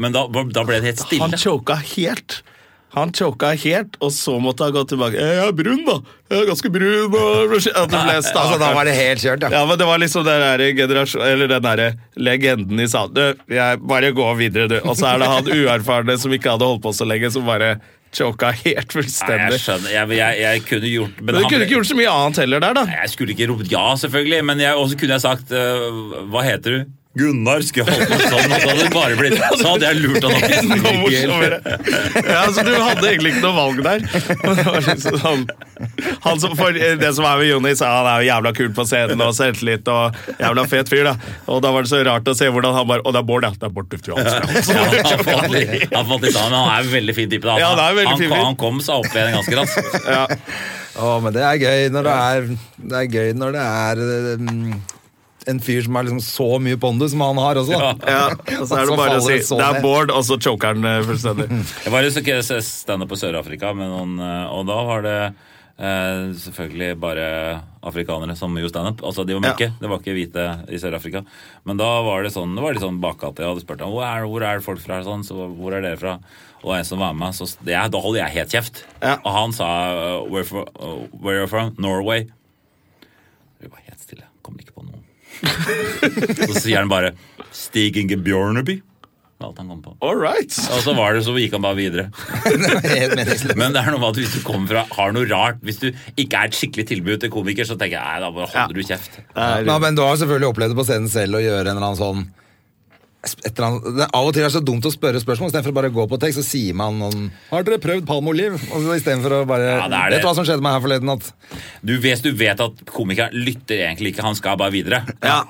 S3: Men da, da ble det helt
S1: Han
S3: stille.
S1: choka helt. Han choka helt, og så måtte han gå tilbake. «Eh, 'Jeg er brun, da. Jeg er ganske brun.' Og at det ble
S2: Altså, da var
S1: stakkars.
S2: det helt kjørt, ja.
S1: Ja, men det var liksom den der generasjon- Eller den derre legenden i salen. Du, jeg bare gå videre, du. Og så er det han uerfarne som ikke hadde holdt på så lenge, som bare choka helt
S3: Nei, jeg
S1: fullstendig.
S3: skjønner. Jeg, jeg, jeg kunne gjort
S1: Men du kunne ikke gjort så mye annet heller der, da.
S3: Nei, Jeg skulle ikke ropt ja, selvfølgelig, men jeg, også kunne jeg sagt øh, Hva heter du? Gunnar skulle jeg holdt på sånn, og så hadde det bare blitt Så hadde jeg lurt han
S1: Enda
S3: opp.
S1: morsommere. Ja, altså, du hadde egentlig ikke noe valg der. Men det var liksom sånn han som, for det som er med Jonis, er han er jo jævla kul på scenen og selvtillit og jævla fet fyr. da Og da var det så rart å se hvordan han bare Og det er Bård, ja. Det er Bård Tufte Johansen.
S3: Ja, han falt litt- han falt litt av, men han er en veldig fin type. Da.
S1: Ja, han er en veldig
S3: han,
S1: fin fyr.
S3: han kom seg opp igjen ganske raskt.
S1: Ja.
S2: Å, men det er gøy når det er, det er, gøy når det er eh, mm, en fyr som har liksom så mye pondus som han har også. da.
S1: Ja, og så er det bare å si
S2: faller så
S1: det er
S2: ned.
S1: Bård, og så choker han eh, fullstendig.
S3: Jeg var jo standup på Sør-Afrika, med noen, eh, og da var det eh, selvfølgelig bare afrikanere som gjorde standup. Altså, de var mørke,
S1: Ja.
S3: det var ikke hvite i Sør-Afrika. Men da var det sånn, det var litt sånn bakgate. Jeg hadde spurt ham hvor er, hvor er folk fra, sånn, så hvor er dere fra? Og en som var med meg, så det, er- da holder jeg helt kjeft.
S1: Ja.
S3: Og han sa eh, where, from, eh, where are you from? Norway. Vi var helt stille, kom ikke på noe. så sier han bare Stig Inge Bjørneby. Det var alt han kom på.
S1: All right.
S3: Og så var det, så gikk han bare videre.
S2: Helt meningsløst.
S3: Men det er noe med at hvis du kommer fra, har noe rart Hvis du ikke er et skikkelig tilbud til komiker, så tenker jeg nei, da bare holder du kjeft.
S2: Ja, men du har selvfølgelig opplevd det på scenen selv å gjøre en eller annen sånn et eller annet, det, Av og til er det så dumt å spørre spørsmål. Istedenfor å bare gå på tekst, så sier man noen Har dere prøvd palmeoliv? Og så Istedenfor å bare
S3: Ja, det er det.
S2: Vet du hva som skjedde meg her forleden? At
S3: Du, hvis du vet at komikeren lytter egentlig ikke, han skal bare videre.
S1: Ja.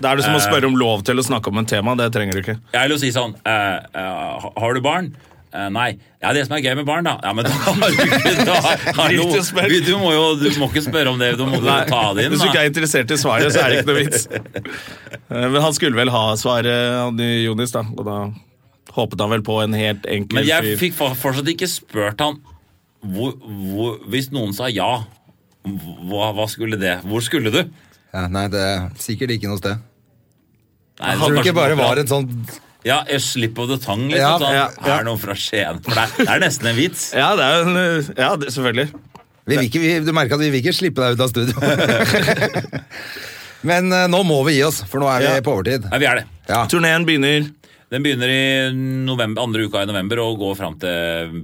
S1: Da er det som å spørre om lov til å snakke om en tema. Det trenger du ikke.
S3: Jeg vil jo si sånn eh, eh, Har du barn? Eh, nei. Ja, det som er gøy med barn, da. Ja, men da har du ikke da, hallo.
S1: Dritt å spørre.
S3: Du, du må jo du må ikke spørre om det. Du må jo
S1: Nei,
S3: ta det inn.
S1: Hvis du ikke
S3: Da.
S1: er interessert i svaret, så er det ikke noe vits. Eh, Men han skulle vel ha svaret, han i Jonis, da. Og da håpet han vel på en helt enkel
S3: Men jeg
S1: fyr.
S3: fikk for- fortsatt ikke spurt han hvor, hvor, Hvis noen sa ja, hva, hva skulle det? Hvor skulle du?
S2: ja, Nei, det er sikkert ikke noe sted.
S3: Nei, det
S2: Jeg tror
S3: kanskje-
S2: det ikke bare var en sånn
S3: Ja, jeg slip of the tongue, liksom.
S2: Ja,
S3: sånn.
S1: ja, ja.
S3: Er det noen fra Skien? For det er, det er nesten en vits.
S1: Ja, det er jo en, eh, ja det, selvfølgelig.
S2: vi vil ikke, vi, Du merker at vi vil ikke slippe deg ut av studio. Men eh, nå må vi gi oss, for nå er vi
S1: Ja.
S2: på overtid.
S3: Nei, vi er det.
S2: Ja.
S1: Turneen begynner
S3: Den begynner i november, andre uka i november og går fram til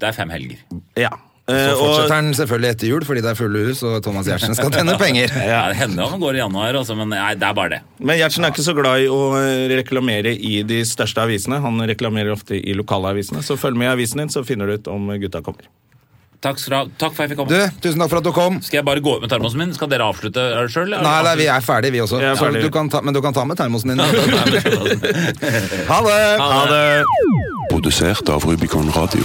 S3: Det er fem helger.
S1: Ja. Eh, og-
S2: Så fortsetter han selvfølgelig etter jul, fordi det er fulle hus, og Thomas Giertsen skal tjene penger.
S3: Ja, det hender han går i januar, altså, men nei, det er bare det.
S1: Men Gjertsen er ikke så glad i å eh, reklamere i de største avisene. Han reklamerer ofte i lokalavisene. Så følg med i avisen din, så finner du ut om gutta kommer.
S3: Takk, skal du ha. takk for at jeg fikk
S2: Du,
S3: komme.
S2: tusen takk for at du kom.
S3: Skal jeg bare gå ut med termosen min? Skal dere avslutte sjøl?
S2: Nei, nei, vi er ferdige, vi også.
S1: Vi er
S2: Så
S1: ferdige.
S2: Du kan ta, men du kan ta med termosen din. Ha det!
S1: Ha det!
S4: Produsert av Rubicon Radio.